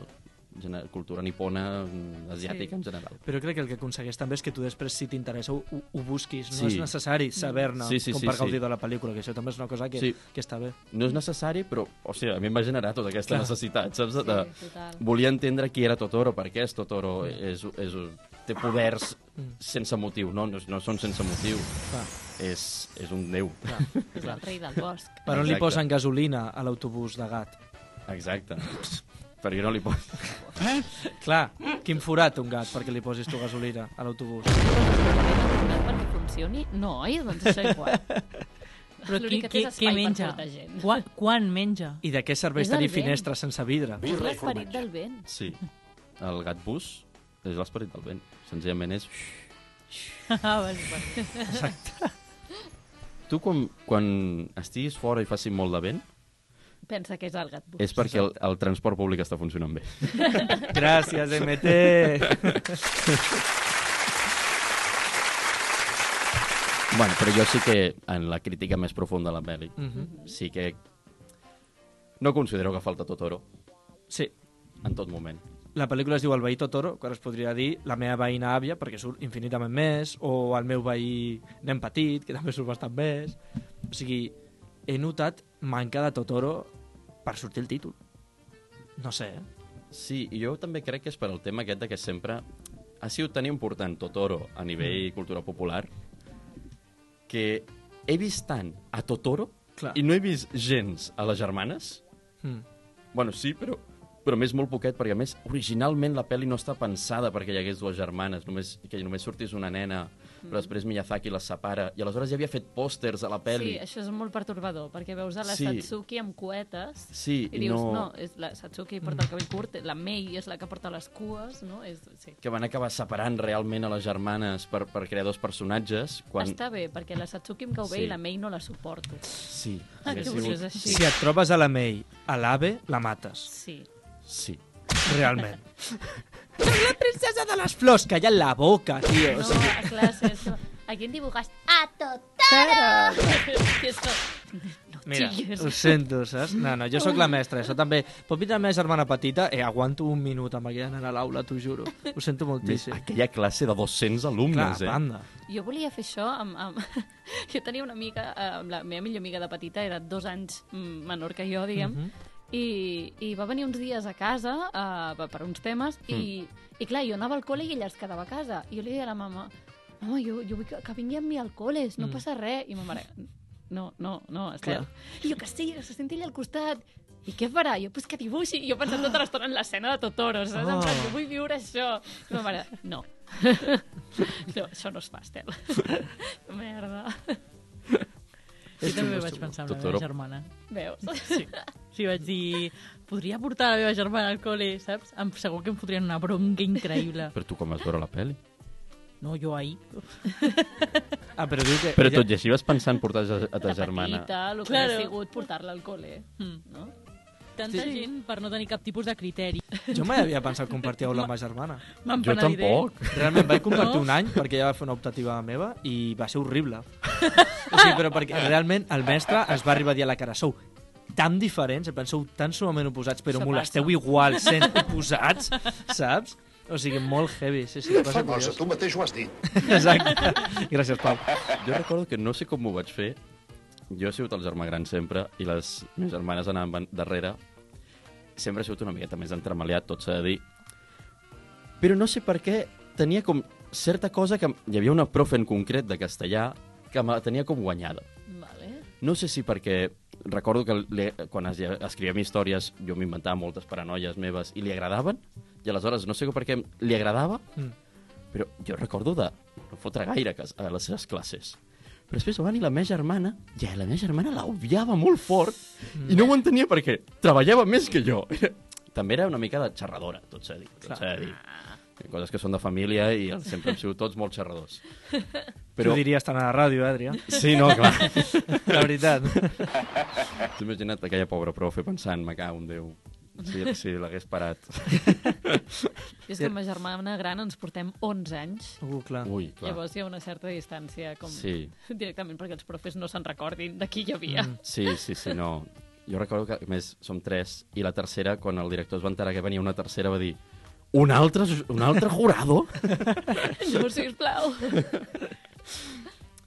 [SPEAKER 1] Gener cultura nipona, mm, asiàtica sí. en general.
[SPEAKER 3] Però crec que el que aconsegueix també és que tu després, si t'interessa, ho, ho- ho busquis. No
[SPEAKER 1] Sí.
[SPEAKER 3] és necessari saber-ne
[SPEAKER 1] Sí, sí,
[SPEAKER 3] com
[SPEAKER 1] sí,
[SPEAKER 3] per
[SPEAKER 1] sí.
[SPEAKER 3] gaudir de la pel·lícula, que això també és una cosa que,
[SPEAKER 1] Sí.
[SPEAKER 3] que està bé.
[SPEAKER 1] no és necessari, però, o sigui, a mi em va generar tota aquesta Clar. necessitat, saps? De,
[SPEAKER 5] Sí, total.
[SPEAKER 1] volia entendre qui era Totoro, per què és Totoro, és, és, té poders sense motiu, no, no, no són sense motiu,
[SPEAKER 3] Clar.
[SPEAKER 1] és, és un déu.
[SPEAKER 5] És el rei del bosc.
[SPEAKER 3] Per on li
[SPEAKER 1] Exacte.
[SPEAKER 3] posen gasolina a l'autobús de gat?
[SPEAKER 1] Exacte. Perquè no li pot...
[SPEAKER 3] Clar, quin forat un gat perquè li posis tu gasolina a l'autobús.
[SPEAKER 5] perquè funcioni? No, oi? Doncs això igual.
[SPEAKER 2] Però
[SPEAKER 5] L'únic
[SPEAKER 2] qui,
[SPEAKER 5] que té
[SPEAKER 2] qui, qui
[SPEAKER 5] és espai per
[SPEAKER 2] menja?
[SPEAKER 5] molta gent.
[SPEAKER 2] Quan, quan menja?
[SPEAKER 3] I de què serveix
[SPEAKER 5] És
[SPEAKER 3] tenir
[SPEAKER 5] el vent.
[SPEAKER 3] finestres sense vidre?
[SPEAKER 5] És l'esperit del vent.
[SPEAKER 1] Sí. El gat bus és l'esperit del vent. Senzillament és...
[SPEAKER 2] Ah, vale, vale.
[SPEAKER 1] Tu, quan, quan estiguis fora i faci molt de vent,
[SPEAKER 5] Pensa que és el gat bus.
[SPEAKER 1] és perquè el, el transport públic està funcionant bé.
[SPEAKER 3] Gràcies, MT!
[SPEAKER 1] Bueno, però jo sí que, en la crítica més profunda de la pel·li,
[SPEAKER 3] Mhm.
[SPEAKER 1] sí que no considero que falta Totoro
[SPEAKER 3] Sí,
[SPEAKER 1] en tot moment.
[SPEAKER 3] la pel·lícula es diu El veí Totoro, que ara es podria dir La meva veïna àvia, perquè surt infinitament més, o El meu veí nen petit, que també surt bastant més. O sigui, he notat manca de Totoro per sortir el títol. No sé, eh?
[SPEAKER 1] Sí, i jo també crec que és per al tema aquest de que sempre ha sigut tan important Totoro a
[SPEAKER 5] Mm.
[SPEAKER 1] nivell cultura popular que he vist tant a Totoro
[SPEAKER 3] Clar.
[SPEAKER 1] i no he vist gens a les germanes.
[SPEAKER 3] Mm.
[SPEAKER 1] Bueno, sí, però però més molt poquet, perquè a més, originalment la pel·li no està pensada perquè hi hagués dues germanes, només, que només sortís una nena, però
[SPEAKER 5] Mm.
[SPEAKER 1] després Miyazaki les separa, i aleshores ja havia fet pòsters a la
[SPEAKER 5] Sí,
[SPEAKER 1] pel·li.
[SPEAKER 5] això és molt pertorbador, perquè veus a la
[SPEAKER 1] Sí.
[SPEAKER 5] sí. Satsuki amb cuetes
[SPEAKER 1] Sí,
[SPEAKER 5] i
[SPEAKER 1] i
[SPEAKER 5] dius,
[SPEAKER 1] no-
[SPEAKER 5] no, és la Satsuki porta el cabell curt, la Mei és la que porta les cues, no? És, sí.
[SPEAKER 1] que van acabar separant realment a les germanes per, per crear dos personatges. Quan...
[SPEAKER 5] Quan... Està bé, perquè la Satsuki em cau bé
[SPEAKER 1] Sí.
[SPEAKER 5] i la Mei no la suporto.
[SPEAKER 1] Sí,
[SPEAKER 5] Ah,
[SPEAKER 1] hagués
[SPEAKER 5] que
[SPEAKER 1] sigut-
[SPEAKER 5] és així.
[SPEAKER 3] Si et trobes a la May, a l'AVE, la mates.
[SPEAKER 5] Sí.
[SPEAKER 1] Sí.
[SPEAKER 3] Realment. la princesa de les flors, calla la boca, tio.
[SPEAKER 5] No,
[SPEAKER 3] O sigui,
[SPEAKER 5] a classe. És... com, A qui en dibujas? A Totoro! I és com... No
[SPEAKER 3] Mira,
[SPEAKER 5] xilles.
[SPEAKER 3] ho sento, saps? No, no, jo sóc la mestra, això també. Pot vindre la meva germana petita? Eh, aguanto un minut amb aquella nena a l'aula, t'ho juro. Ho sento
[SPEAKER 1] Més,
[SPEAKER 3] moltíssim.
[SPEAKER 1] aquella classe de 200
[SPEAKER 3] Clar,
[SPEAKER 1] alumnes,
[SPEAKER 3] a
[SPEAKER 1] eh?
[SPEAKER 3] banda.
[SPEAKER 5] Jo volia fer això amb... amb... Jo tenia una amiga, eh, amb la meva millor amiga de petita, era dos anys mm, menor que jo, diguem,
[SPEAKER 3] Mhm.
[SPEAKER 5] i, i va venir uns dies a casa uh, per uns temes, i,
[SPEAKER 3] Mm.
[SPEAKER 5] i clar, jo anava al col·le i ella es quedava a casa. I jo li deia a la mama, mama, jo, jo vull que, que vingui amb mi al col·le, no passa res. I ma mare, no, no, no, Estel.
[SPEAKER 3] Mm. Clar.
[SPEAKER 5] I jo, que sí, que se senti allà al costat. I què farà? Jo, pues que dibuixi. I jo pensant tota l'estona en l'escena de Totoro, saps? Oh. En
[SPEAKER 3] Oh.
[SPEAKER 5] plan, jo vull viure això. I ma mare, no. No, això no es fa, Estel. Merda.
[SPEAKER 2] Jo també vaig pensar en la
[SPEAKER 1] Totoro.
[SPEAKER 2] meva germana.
[SPEAKER 5] Veus?
[SPEAKER 2] Sí. Sí, vaig dir, podria portar la meva germana al col·le, saps? Em, segur que em fotrien una bronca increïble.
[SPEAKER 1] Però tu com vas veure la pel·li?
[SPEAKER 2] No, jo ahir.
[SPEAKER 3] Ah, però diu que...
[SPEAKER 1] Però
[SPEAKER 3] ella-
[SPEAKER 1] tot i així vas pensar en portar a ta
[SPEAKER 5] La
[SPEAKER 1] germana.
[SPEAKER 5] petita, el que
[SPEAKER 2] Claro.
[SPEAKER 5] ha sigut portar-la al col·le.
[SPEAKER 2] Mm.
[SPEAKER 5] No?
[SPEAKER 2] Tanta
[SPEAKER 3] Sí.
[SPEAKER 2] gent per no tenir cap tipus de criteri.
[SPEAKER 3] Jo mai havia pensat compartir aula amb ma germana.
[SPEAKER 2] Me'n
[SPEAKER 1] Jo
[SPEAKER 2] penediré.
[SPEAKER 1] tampoc.
[SPEAKER 3] Realment vaig compartir
[SPEAKER 2] No?
[SPEAKER 3] un any perquè ella va fer una optativa meva i va ser horrible. O sigui, però perquè realment el mestre es va arribar a dir a la cara, sou tan diferents, em penseu tan sumament oposats, però
[SPEAKER 5] Això
[SPEAKER 3] molesteu
[SPEAKER 5] passa.
[SPEAKER 3] igual sent oposats, saps? O sigui, molt heavy, sí, sí, cosa curiosa.
[SPEAKER 7] tu mateix ho has dit.
[SPEAKER 3] Exacte. Gràcies, Pau.
[SPEAKER 1] Jo recordo que no sé com ho vaig fer. Jo he sigut el germà gran sempre i les meves germanes anaven darrere. Sempre he sigut una miqueta més entremaliat, tot s'ha de dir. Però no sé per què tenia com certa cosa que... Hi havia una profe en concret de castellà que me la tenia com guanyada.
[SPEAKER 5] Vale.
[SPEAKER 1] No sé si perquè recordo que li, quan es, escrivíem històries jo m'inventava moltes paranoies meves i li agradaven, i aleshores no sé per què li agradava,
[SPEAKER 3] Mm.
[SPEAKER 1] però jo recordo de no fotre gaire a cas- a les seves classes. Però després va venir la meva germana, i a la meva germana la odiava molt fort, i no ho entenia perquè treballava més que jo. També era una mica de xerradora, tot s'ha de dir. Tot
[SPEAKER 3] Clar.
[SPEAKER 1] s'ha de dir. Coses que són de família i sempre hem sigut tots molt xerradors.
[SPEAKER 3] Però...
[SPEAKER 1] Però...
[SPEAKER 3] Tu diries tant a la ràdio, eh, Adrià?
[SPEAKER 1] Sí, no, clar.
[SPEAKER 3] La veritat.
[SPEAKER 1] T'he imaginat aquella pobra profe pensant, me cago en Déu, si, si l'hagués parat.
[SPEAKER 5] Jo és que amb ma germana gran ens portem 11 anys.
[SPEAKER 3] Uh, clar.
[SPEAKER 1] Ui,
[SPEAKER 5] Clar.
[SPEAKER 1] clar.
[SPEAKER 5] Llavors hi ha una certa distància com
[SPEAKER 1] Sí.
[SPEAKER 5] directament perquè els profes no se'n recordin de qui hi havia. Mm.
[SPEAKER 1] Sí, sí, sí, no. Jo recordo que, a més, som tres, i la tercera, quan el director es va enterar que venia una tercera, va dir un altre, un altre jurado?
[SPEAKER 5] No, sisplau.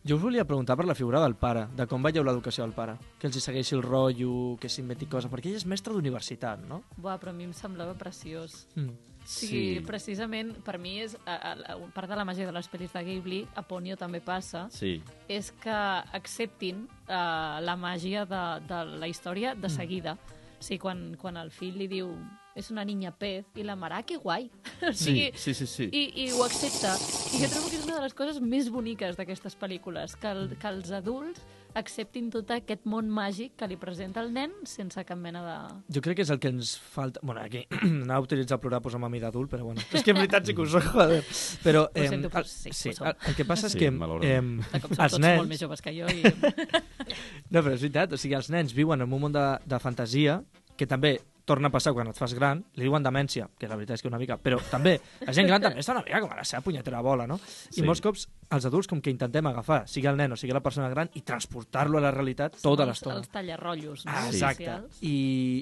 [SPEAKER 3] Jo us volia preguntar per la figura del pare, de com veieu l'educació del pare, que els hi segueixi el rotllo, que s'inventi coses, perquè ell és mestre d'universitat, no?
[SPEAKER 5] Buah, però a mi em semblava preciós.
[SPEAKER 3] Mm.
[SPEAKER 5] Sí. sí. precisament, per mi és a, a, a, part de la màgia de les pel·lis de Ghibli, a Ponyo també passa,
[SPEAKER 1] Sí,
[SPEAKER 5] és que acceptin uh, la màgia de, de la història de seguida. O sigui, quan, quan el fill li diu és una niña pez, i la mare, "Ah, que guai. O sigui,
[SPEAKER 1] sí, sí, sí. sí. I...
[SPEAKER 5] i, i ho accepta. I jo trobo que és una de les coses més boniques d'aquestes pel·lícules, que, el, que els adults acceptin tot aquest món màgic que li presenta el nen sense cap mena de...
[SPEAKER 3] Jo crec que és el que ens falta... Bueno, aquí anava a utilitzar plorar posant a mi d'adult, però bueno. És que en veritat sí que ho soc, joder. Però,
[SPEAKER 5] Ho sento, però
[SPEAKER 3] el-
[SPEAKER 5] sí,
[SPEAKER 3] sí,
[SPEAKER 5] ho som.
[SPEAKER 3] el, el que passa és
[SPEAKER 1] Sí,
[SPEAKER 3] que
[SPEAKER 1] malauradament.
[SPEAKER 5] De cop són
[SPEAKER 3] els
[SPEAKER 5] tots nens... molt més
[SPEAKER 3] nens...
[SPEAKER 5] joves que jo i...
[SPEAKER 3] No, però és veritat, o sigui, els nens viuen en un món de, de fantasia que també torna a passar quan et fas gran, li diuen demència, que la veritat és que una mica, però també, la gent gran també està una mica com a la seva punyetera bola, no? I
[SPEAKER 1] Sí.
[SPEAKER 3] molts cops els adults com que intentem agafar, sigui el nen o sigui la persona gran, i transportar-lo a la realitat tota
[SPEAKER 5] Els-
[SPEAKER 3] l'estona.
[SPEAKER 5] Els tallarrotllos, no?
[SPEAKER 3] Ah,
[SPEAKER 1] Sí.
[SPEAKER 3] exacte.
[SPEAKER 5] Socials.
[SPEAKER 3] I,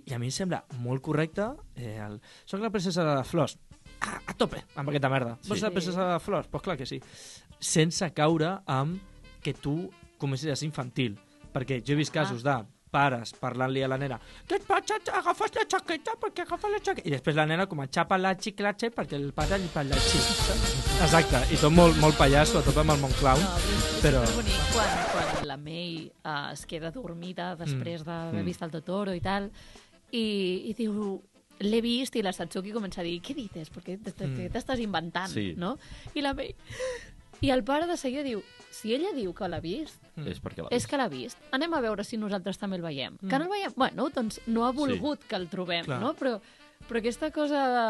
[SPEAKER 3] I a mi em sembla molt correcte eh, el... Soc la princesa de les flors. A, a tope, amb aquesta merda. Sí. Vols
[SPEAKER 1] Sí.
[SPEAKER 3] ser la princesa de les flors? Doncs pues clar que sí. Sense caure amb que tu comencis a ser infantil. Perquè jo he vist casos de pares parlant-li a la nena què et passa? Agafes la xaqueta? perquè agafes la xaqueta? I després la nena com a xapa la xiclatxe perquè el pare li fa la xiclatxe. Exacte, i tot molt, molt pallasso, a tope amb el Montclau.
[SPEAKER 5] No, és
[SPEAKER 3] però-
[SPEAKER 5] però... bonic quan, quan la May uh, es queda dormida
[SPEAKER 1] Mm,
[SPEAKER 5] després d'haver vist el Totoro i tal, i, i diu l'he vist i la Satsuki comença a dir què dices, perquè
[SPEAKER 3] Mm.
[SPEAKER 5] t'estàs inventant,
[SPEAKER 1] Sí.
[SPEAKER 5] no? I la May... I el pare de seguida diu, si ella diu que l'ha vist,
[SPEAKER 1] És perquè la...
[SPEAKER 5] és que l'ha vist. Anem a veure si nosaltres també el veiem. Mm. Que no el veiem? Bueno, doncs no ha volgut sí. que el trobem,
[SPEAKER 3] Clar.
[SPEAKER 5] Clar. no? Però, però aquesta cosa de...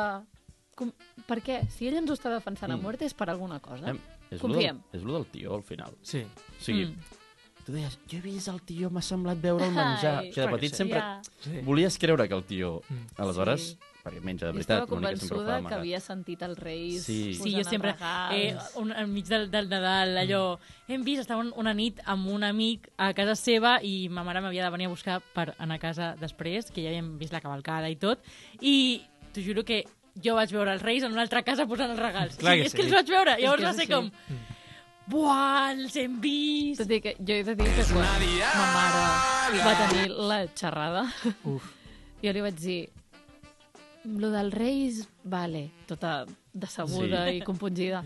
[SPEAKER 5] Com... Per què? Si ella ens ho està defensant
[SPEAKER 1] Mm.
[SPEAKER 5] a mort és per alguna cosa.
[SPEAKER 1] Em, Eh, és lo del,
[SPEAKER 5] Confiem.
[SPEAKER 1] és lo del tio, al final.
[SPEAKER 3] Sí.
[SPEAKER 1] O sigui,
[SPEAKER 5] Mm.
[SPEAKER 1] tu deies, jo he vist el tio, m'ha semblat veure el menjar.
[SPEAKER 5] Ai,
[SPEAKER 1] o sigui, de
[SPEAKER 3] clar que
[SPEAKER 1] petit
[SPEAKER 3] sí.
[SPEAKER 1] sempre
[SPEAKER 5] Ja.
[SPEAKER 3] sí.
[SPEAKER 1] volies creure que el tio,
[SPEAKER 3] Mm.
[SPEAKER 1] aleshores,
[SPEAKER 5] Sí.
[SPEAKER 1] perquè menja de
[SPEAKER 5] Jo
[SPEAKER 1] veritat,
[SPEAKER 5] estava
[SPEAKER 1] una mica sempre ho fa
[SPEAKER 5] convençuda que
[SPEAKER 1] amagat.
[SPEAKER 5] havia sentit els reis
[SPEAKER 1] Sí.
[SPEAKER 5] posant
[SPEAKER 2] Sí, jo sempre... Eh,
[SPEAKER 5] regals.
[SPEAKER 2] un, enmig del, del
[SPEAKER 3] Mm.
[SPEAKER 2] Nadal, allò... Hem vist, estava un- una nit amb un amic a casa seva i ma mare m'havia de venir a buscar per anar a casa després, que ja havíem vist la cavalcada i tot, i t'ho juro que jo vaig veure els Reis en una altra casa posant els regals.
[SPEAKER 3] Clar que Mm.
[SPEAKER 2] sí, és que
[SPEAKER 3] sí.
[SPEAKER 2] els vaig veure.
[SPEAKER 5] És
[SPEAKER 2] Llavors
[SPEAKER 5] que
[SPEAKER 2] va
[SPEAKER 5] és
[SPEAKER 2] ser
[SPEAKER 5] així.
[SPEAKER 2] com... Buah, els hem vist!
[SPEAKER 5] Tot i que jo he de dir que quan ma mare va tenir la xerrada,
[SPEAKER 3] Uf.
[SPEAKER 5] jo li vaig dir lo dels reis, vale, tota decebuda
[SPEAKER 1] Sí.
[SPEAKER 5] sí. i compungida,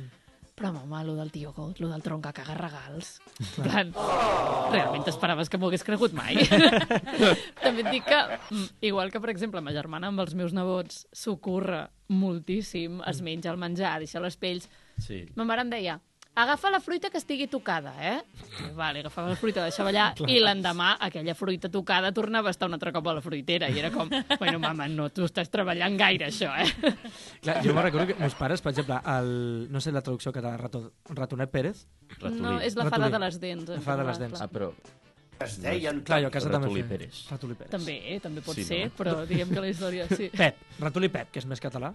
[SPEAKER 5] però mama, lo del tio Got, lo del tronc que caga regals. En plan, realment t'esperaves que m'ho hagués cregut mai. També et dic que, mm, igual que, per exemple, ma germana amb els meus nebots s'ocorre moltíssim, es menja el menjar, deixa les pells,
[SPEAKER 1] Sí.
[SPEAKER 5] Ma mare em deia, agafa la fruita que estigui tocada, eh? I, vale, agafava la fruita, deixava allà, i l'endemà aquella fruita tocada tornava a estar un altre cop a la fruitera, i era com, bueno, mama, no t'ho estàs treballant gaire, això, eh?
[SPEAKER 3] Clar, jo me'n recordo que meus pares, per exemple, el, no sé la traducció català, rato, ratonet Pérez,
[SPEAKER 1] Ratolí.
[SPEAKER 5] No, és la fada
[SPEAKER 3] Ratolí.
[SPEAKER 5] de les dents. en
[SPEAKER 3] La fada de les
[SPEAKER 5] català,
[SPEAKER 3] dents.
[SPEAKER 1] Ah,
[SPEAKER 5] clar.
[SPEAKER 1] però...
[SPEAKER 6] Es deien
[SPEAKER 3] clar, jo a casa també...
[SPEAKER 1] Ratolí
[SPEAKER 3] feia-
[SPEAKER 1] Pérez.
[SPEAKER 3] Ratolí Pérez.
[SPEAKER 5] També, eh? també pot
[SPEAKER 1] Sí,
[SPEAKER 5] ser,
[SPEAKER 1] no?
[SPEAKER 5] però diguem que la història... Sí.
[SPEAKER 3] Pep, ratolí Pep, que és més català.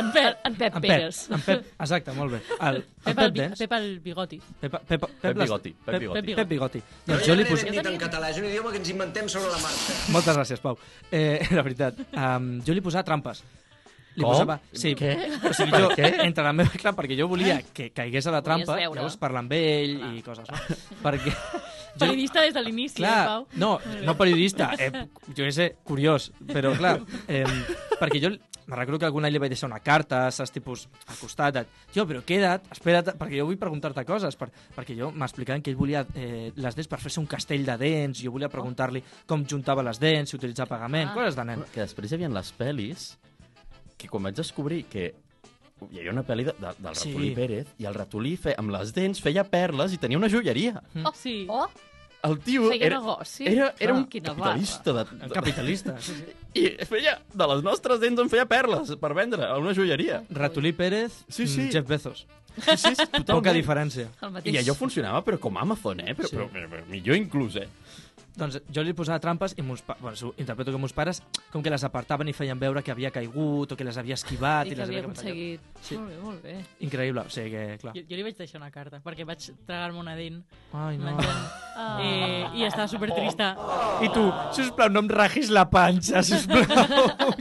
[SPEAKER 5] En Pep, en Pep,
[SPEAKER 3] En
[SPEAKER 5] Pérez.
[SPEAKER 3] Pep, en Pep, exacte, molt bé. El, el
[SPEAKER 2] Pep, el,
[SPEAKER 3] Pep
[SPEAKER 2] bi-
[SPEAKER 3] Dents.
[SPEAKER 2] Pep el bigoti.
[SPEAKER 3] Pep, Pep, Pep,
[SPEAKER 1] Pep
[SPEAKER 3] les-
[SPEAKER 1] Bigoti, Pep Bigoti.
[SPEAKER 3] Pep, Pep Bigoti. Doncs jo li pos...
[SPEAKER 5] dit en
[SPEAKER 6] català, és un idioma que ens inventem sobre la marca.
[SPEAKER 3] Moltes gràcies, Pau. Eh, la veritat, um, jo li posava trampes. Li
[SPEAKER 1] Com?
[SPEAKER 3] posava... Sí,
[SPEAKER 1] Què?
[SPEAKER 3] O sigui, jo, entre la meva... Clar, perquè jo volia que caigués a la
[SPEAKER 5] Volies
[SPEAKER 3] trampa,
[SPEAKER 5] veure.
[SPEAKER 3] llavors parlar amb ell i coses, no? perquè... Jo,
[SPEAKER 2] Periodista des de l'inici, eh,
[SPEAKER 3] Clar,
[SPEAKER 2] Pau?
[SPEAKER 3] no, no periodista, eh, jo què sé, curiós, però clar, eh, perquè jo me recordo que algun any li vaig deixar una carta, saps, tipus, al costat, de, tio, però queda't, espera't, perquè jo vull preguntar-te coses, per, perquè jo m'explicaven que ell volia eh, les dents per fer-se un castell de dents, jo volia preguntar-li com juntava les dents, si utilitzava pagament,
[SPEAKER 5] Ah.
[SPEAKER 3] coses de nen.
[SPEAKER 1] Que després hi havia les pel·lis que quan vaig descobrir que hi havia una pel·li de, de, del
[SPEAKER 3] Sí.
[SPEAKER 1] ratolí Pérez i el ratolí fe, amb les dents feia perles i tenia una joieria.
[SPEAKER 3] Mm.
[SPEAKER 5] Oh,
[SPEAKER 2] Sí.
[SPEAKER 5] oh,
[SPEAKER 1] El tio
[SPEAKER 5] feia
[SPEAKER 1] era,
[SPEAKER 5] negoci. Ah,
[SPEAKER 1] era, era un
[SPEAKER 5] Quina barra.
[SPEAKER 1] capitalista. De, de,
[SPEAKER 3] Capitalista, sí, sí.
[SPEAKER 1] I feia, de les nostres dents en feia perles per vendre a una joieria.
[SPEAKER 3] Ratolí Pérez,
[SPEAKER 1] Sí, sí.
[SPEAKER 3] mm, Jeff Bezos.
[SPEAKER 1] Sí, sí, sí,
[SPEAKER 3] Poca
[SPEAKER 1] totalment.
[SPEAKER 3] diferència.
[SPEAKER 5] El mateix.
[SPEAKER 1] I allò funcionava, però com Amazon, eh? Però,
[SPEAKER 3] Sí.
[SPEAKER 1] sí. però, però, però millor inclús, eh?
[SPEAKER 3] Doncs jo li posava trampes i mons, pa... bueno, s'ho interpreto que meus pares com que les apartaven i feien veure que havia caigut o que les havia esquivat
[SPEAKER 5] I
[SPEAKER 3] i,
[SPEAKER 5] que
[SPEAKER 3] les
[SPEAKER 5] havia
[SPEAKER 3] havia començat.
[SPEAKER 5] aconseguit.
[SPEAKER 3] Sí.
[SPEAKER 5] Molt bé, molt bé.
[SPEAKER 3] Increïble, o sigui que, clar.
[SPEAKER 2] Jo, jo li vaig deixar una carta, perquè vaig tragar-me una dent
[SPEAKER 3] Ai, no.
[SPEAKER 2] menjant. Eh, I estava supertrista.
[SPEAKER 3] I tu, sisplau, no em rajis la panxa, sisplau,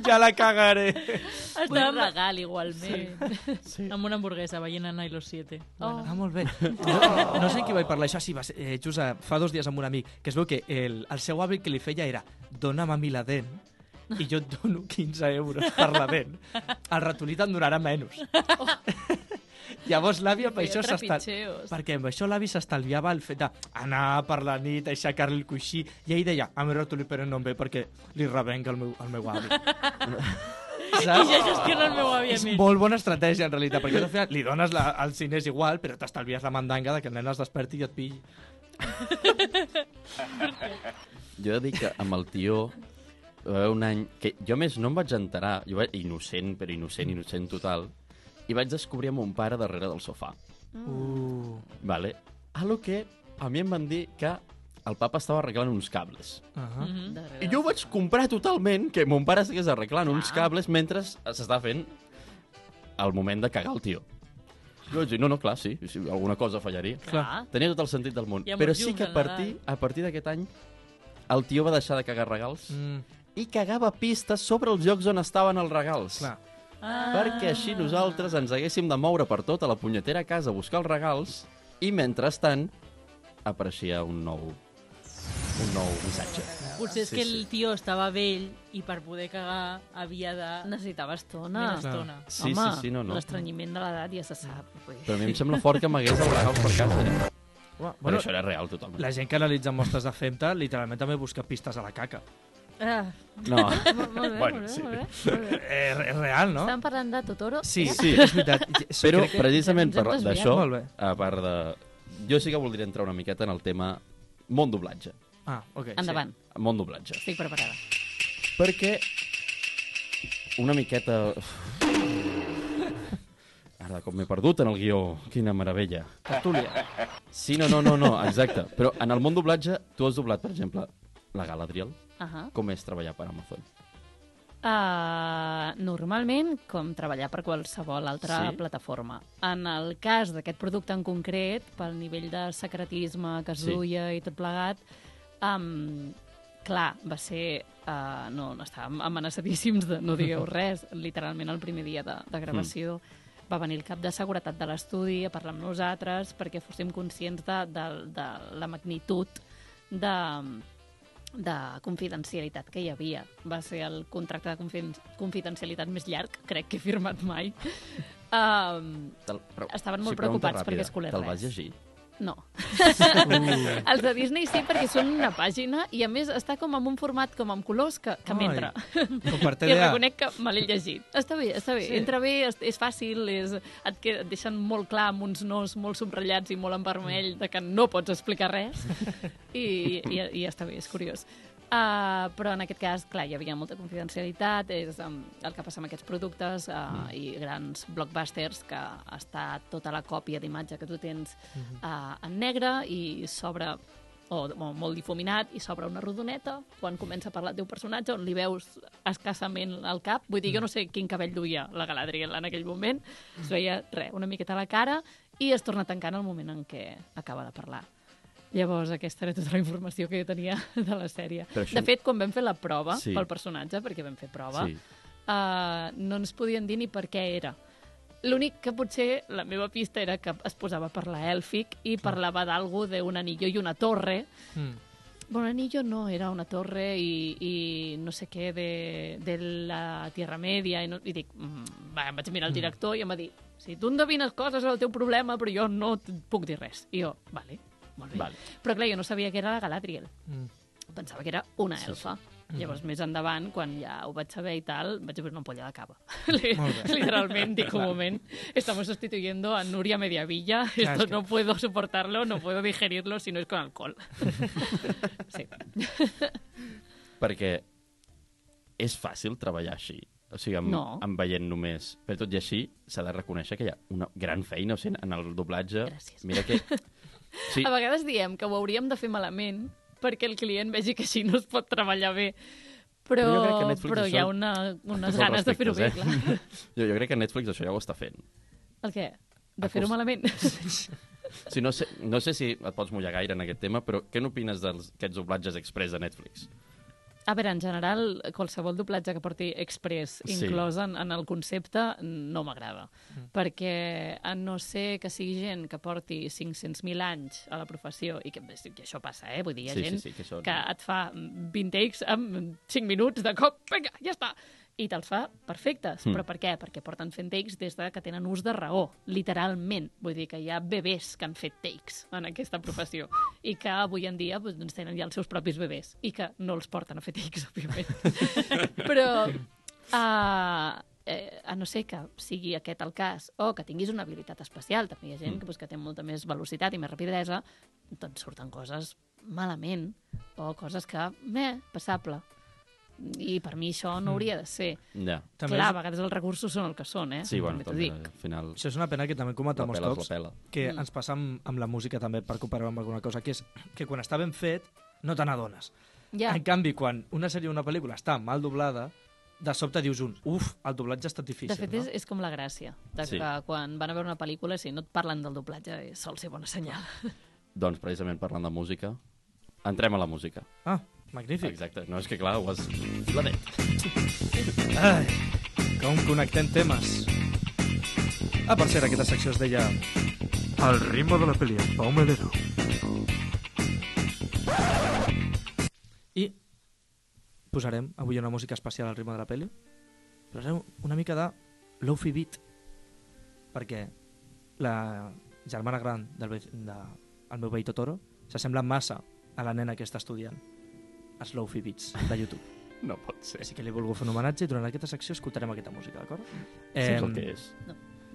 [SPEAKER 3] ja la cagaré.
[SPEAKER 5] Vull un
[SPEAKER 2] Estava
[SPEAKER 5] regal, igualment.
[SPEAKER 2] amb, amb una hamburguesa veient a Nilo 7.
[SPEAKER 5] Oh.
[SPEAKER 3] Ah, molt bé. No, no sé amb qui vaig parlar això, sí, va ser, eh, just a, fa dos dies amb un amic, que es veu que el, el seu avi que li feia era dona'm a mi la dent i jo et dono 15 euros per la dent. El ratolí te'n donarà menys. Llavors l'àvia per
[SPEAKER 5] Feia
[SPEAKER 3] això s'està...
[SPEAKER 5] trepitgeos.
[SPEAKER 3] Perquè amb això l'avi s'estalviava el fet d'anar per la nit, aixecar-li el coixí, i ell deia, a mi ratolí però no em ve perquè li revenc el meu, el meu avi.
[SPEAKER 2] I ja gestiona el meu avi a
[SPEAKER 3] És
[SPEAKER 2] mi.
[SPEAKER 3] molt bona estratègia, en realitat, perquè al final li dones la, els diners igual, però t'estalvies la mandanga de que el nen es desperti i et pilli.
[SPEAKER 1] Jo he de dir que amb el tio va haver un any que jo a més no em vaig enterar, jo vaig, innocent, però innocent, innocent total, i vaig descobrir a mon pare
[SPEAKER 5] Mm.
[SPEAKER 1] darrere del sofà.
[SPEAKER 3] Uh.
[SPEAKER 1] Vale? A lo que a mi em van dir que el papa estava arreglant uns cables.
[SPEAKER 3] Uh -huh.
[SPEAKER 5] Oh,
[SPEAKER 2] Mhm.
[SPEAKER 1] I jo ho vaig comprar totalment, que mon pare estigués arreglant uns cables mentre s'està fent el moment de cagar el tio. Jo vaig dir, no, no, clar, sí, sí alguna cosa fallaria.
[SPEAKER 2] Clar.
[SPEAKER 1] Tenia tot el sentit del món.
[SPEAKER 2] Hi ha
[SPEAKER 1] Però
[SPEAKER 2] molts
[SPEAKER 1] sí
[SPEAKER 2] llums
[SPEAKER 1] que a
[SPEAKER 2] al
[SPEAKER 1] partir, a partir d'aquest any el tio va deixar de cagar regals
[SPEAKER 5] Mm-hmm.
[SPEAKER 3] mm,
[SPEAKER 1] i cagava pistes sobre els llocs on estaven els regals.
[SPEAKER 3] clar.
[SPEAKER 2] Ah.
[SPEAKER 1] Perquè així nosaltres ens haguéssim de moure per tota la punyetera casa a buscar els regals i, mentrestant, apareixia un nou, un nou missatge.
[SPEAKER 2] Potser és
[SPEAKER 1] Sí,
[SPEAKER 2] que
[SPEAKER 1] sí.
[SPEAKER 2] el tio estava vell i per poder cagar havia de...
[SPEAKER 5] Necessitava estona.
[SPEAKER 2] Una estona.
[SPEAKER 1] Sí,
[SPEAKER 5] Home,
[SPEAKER 1] sí, sí, no, no.
[SPEAKER 5] l'estrenyiment de l'edat ja se sap. vull dir.
[SPEAKER 1] Però a mi em sembla fort que m'hagués els regals per casa. Eh?
[SPEAKER 3] Uah,
[SPEAKER 1] Bueno,
[SPEAKER 3] bueno,
[SPEAKER 1] això era real, totalment.
[SPEAKER 3] la gent que analitza mostres de femta literalment també busca pistes a la caca.
[SPEAKER 5] Ah,
[SPEAKER 1] No.
[SPEAKER 5] molt bé,
[SPEAKER 1] Bueno,
[SPEAKER 5] molt bé,
[SPEAKER 1] sí. Ah.
[SPEAKER 5] molt bé, molt bé.
[SPEAKER 3] Eh, és real, no?
[SPEAKER 5] Estan parlant de Totoro?
[SPEAKER 3] Sí,
[SPEAKER 5] Era-
[SPEAKER 1] Sí.
[SPEAKER 3] és veritat. Això
[SPEAKER 1] Però
[SPEAKER 3] crec que-
[SPEAKER 1] precisament
[SPEAKER 5] ens
[SPEAKER 1] per
[SPEAKER 5] hem desviat.
[SPEAKER 1] d'això,
[SPEAKER 3] Molt bé.
[SPEAKER 1] a part de... Jo sí que voldria entrar una miqueta en el tema món doblatge.
[SPEAKER 3] Ah, ok.
[SPEAKER 5] Endavant,
[SPEAKER 1] Món doblatge.
[SPEAKER 5] estic preparada.
[SPEAKER 1] Perquè una miqueta... Ara de cop m'he perdut en el guió. Quina meravella.
[SPEAKER 3] Sí. Tertúlia.
[SPEAKER 1] Sí, no, no, no, no, exacte. Però en el món doblatge, tu has doblat, per exemple, la Galadriel.
[SPEAKER 5] Ahà.
[SPEAKER 1] Com és treballar per Amazon?
[SPEAKER 5] Uh, normalment, com treballar per qualsevol altra
[SPEAKER 1] Sí.
[SPEAKER 5] sí. plataforma. En el cas d'aquest producte en concret, pel nivell de secretisme que es
[SPEAKER 1] Sí.
[SPEAKER 5] sí. duia i tot plegat, um, clar, va ser... Uh, no, no estàvem amenaçadíssims de no digueu res. Literalment, el primer dia de, de gravació mm. va venir el cap de seguretat de l'estudi a parlar amb nosaltres perquè fóssim conscients de, de, de la magnitud de, de confidencialitat que hi havia. Va ser el contracte de confiden confidencialitat més llarg, crec que he firmat mai. Um,
[SPEAKER 1] Te'l- però-
[SPEAKER 5] Estaven molt
[SPEAKER 1] sí, pregunta
[SPEAKER 5] preocupats perquè es colés
[SPEAKER 1] Te'l vas
[SPEAKER 5] res.
[SPEAKER 1] llegir?
[SPEAKER 5] no. Els de Disney sí, perquè són una pàgina i, a més, està com en un format com amb colors que, que
[SPEAKER 3] Ai.
[SPEAKER 5] m'entra.
[SPEAKER 3] Com per
[SPEAKER 5] I
[SPEAKER 3] TDA.
[SPEAKER 5] reconec que me l'he llegit. Està bé, està bé.
[SPEAKER 3] Sí.
[SPEAKER 5] Sí. Entra bé, és, és fàcil, és, et, que, et deixen molt clar amb uns nos molt subratllats i molt en vermell de que no pots explicar res. I, i, i està bé, és curiós. Uh, però en aquest cas, clar, hi havia molta confidencialitat, és um, el que passa amb aquests productes uh, i grans blockbusters que està tota la còpia d'imatge que tu tens uh, en negre i s'obre o, o molt difuminat i s'obre una rodoneta quan comença a parlar el teu personatge on li veus escassament el cap vull dir, jo no sé quin cabell duia la Galadriel en aquell moment, es veia res, una miqueta a la cara i es torna tancant el moment en què acaba de parlar Llavors, aquesta era tota la informació que jo tenia de la sèrie.
[SPEAKER 1] Però això-
[SPEAKER 5] De fet, quan vam fer la prova
[SPEAKER 1] Sí.
[SPEAKER 5] sí. pel personatge, perquè vam fer prova,
[SPEAKER 1] Sí.
[SPEAKER 5] sí. uh, no ens podien dir ni per què era. L'únic que potser la meva pista era que es posava a parlar èlfic i parlava d'algú d'un anillo i una torre.
[SPEAKER 3] Mm.
[SPEAKER 5] Bueno, anillo no, era una torre i, i no sé què de, de la Tierra Media. I, no, i dic, mm, va, em vaig mirar el director i em va dir si tu endevines coses és el teu problema, però jo no et puc dir res. I jo, vale, molt bé.
[SPEAKER 1] Vale.
[SPEAKER 5] Però clar, jo no sabia que era la Galadriel
[SPEAKER 3] Mm.
[SPEAKER 5] pensava que era una elfa. Sí, sí. Llavors, més endavant, quan ja ho vaig saber i tal, vaig veure una ampolla de cava. Li-
[SPEAKER 3] Molt bé.
[SPEAKER 5] Literalment, dic un moment, estamos sustituyendo a Nuria Mediavilla,
[SPEAKER 3] Clar, és
[SPEAKER 5] esto
[SPEAKER 3] que-
[SPEAKER 5] no puedo soportarlo, no puedo digerirlo si no es con alcohol. sí.
[SPEAKER 1] Perquè és fàcil treballar així. O sigui, amb,
[SPEAKER 5] No.
[SPEAKER 1] amb veient només... Però tot i així, s'ha de reconèixer que hi ha una gran feina. O sigui, en el doblatge...
[SPEAKER 5] Gràcies.
[SPEAKER 1] Mira que... Sí,
[SPEAKER 5] A vegades diem que ho hauríem de fer malament perquè el client vegi que així no es pot treballar bé. Però,
[SPEAKER 1] Però jo crec que Netflix
[SPEAKER 5] però hi ha
[SPEAKER 1] això-
[SPEAKER 5] una, unes
[SPEAKER 1] tots els
[SPEAKER 5] ganes de fer-ho bé,
[SPEAKER 1] respectes,
[SPEAKER 5] clar.
[SPEAKER 1] eh? Jo, jo crec que Netflix això ja ho està fent.
[SPEAKER 5] El què? De
[SPEAKER 1] Acus-
[SPEAKER 5] fer-ho malament?
[SPEAKER 1] O sigui, no, sé, no sé si et pots mullar gaire en aquest tema, però què n'opines d'aquests doblatges express de Netflix?
[SPEAKER 5] A veure, en general, qualsevol doblatge que porti express
[SPEAKER 1] Sí.
[SPEAKER 5] inclòs en, en el concepte no m'agrada, mm. perquè a no ser que sigui gent que porti 500.000 anys a la professió, i que, que això passa, eh? Vull dir, hi ha
[SPEAKER 1] Sí, sí,
[SPEAKER 5] gent
[SPEAKER 1] sí, que això-
[SPEAKER 5] que et fa 20 takes en 5 minuts de cop, vinga, ja està, i te'ls fa perfectes.
[SPEAKER 1] Mm.
[SPEAKER 5] Però per què? Perquè porten fent takes des de que tenen ús de raó, literalment. Vull dir que hi ha bebès que han fet takes en aquesta professió i que avui en dia doncs, tenen ja els seus propis bebès i que no els porten a fer takes, òbviament. Però... Uh, eh, a no ser que sigui aquest el cas o que tinguis una habilitat especial, també hi ha gent que, pues, que té molta més velocitat i més rapidesa, doncs surten coses malament o coses que, meh, passable. I per mi això no hauria de ser.
[SPEAKER 1] Ja.
[SPEAKER 3] També
[SPEAKER 5] Clar,
[SPEAKER 3] és-
[SPEAKER 5] a vegades els recursos són el que són, eh?
[SPEAKER 1] Sí, bueno,
[SPEAKER 5] També t'ho
[SPEAKER 1] també,
[SPEAKER 5] dic.
[SPEAKER 1] al final...
[SPEAKER 3] Això és una pena que també hem comentat
[SPEAKER 1] La
[SPEAKER 3] molts
[SPEAKER 1] pela és
[SPEAKER 3] cops,
[SPEAKER 1] la pela.
[SPEAKER 3] que
[SPEAKER 5] Mm.
[SPEAKER 3] ens passa amb, amb la música també, per comparar amb alguna cosa, que és que quan està ben fet no te n'adones.
[SPEAKER 5] Ja.
[SPEAKER 3] En canvi, quan una sèrie o una pel·lícula està mal doblada, de sobte dius un, uf, el doblatge ha estat difícil.
[SPEAKER 5] De fet, és,
[SPEAKER 3] no?
[SPEAKER 5] és com la gràcia, de
[SPEAKER 1] Sí.
[SPEAKER 5] sí. que quan van a veure una pel·lícula, si no et parlen del doblatge, eh, sol ser bona senyal.
[SPEAKER 1] Doncs precisament parlant de música, entrem a la música.
[SPEAKER 3] Ah, magnífic.
[SPEAKER 1] Exacte. No, és que clar, ho has... La net.
[SPEAKER 3] Ai, com connectem temes. Ah, per cert, aquesta secció es deia... El ritme de la pel·li, en Pau Melero. I posarem avui una música especial al ritme de la pel·li. Posarem una mica de lofi beat, perquè la germana gran del, ve- de, el meu veí Totoro s'assembla massa a la nena que està estudiant els lofi beats de YouTube.
[SPEAKER 1] No pot ser.
[SPEAKER 3] Així que li he volgut fer un homenatge i durant aquesta secció escoltarem aquesta música, d'acord?
[SPEAKER 1] Eh,
[SPEAKER 3] Em,
[SPEAKER 1] el que és.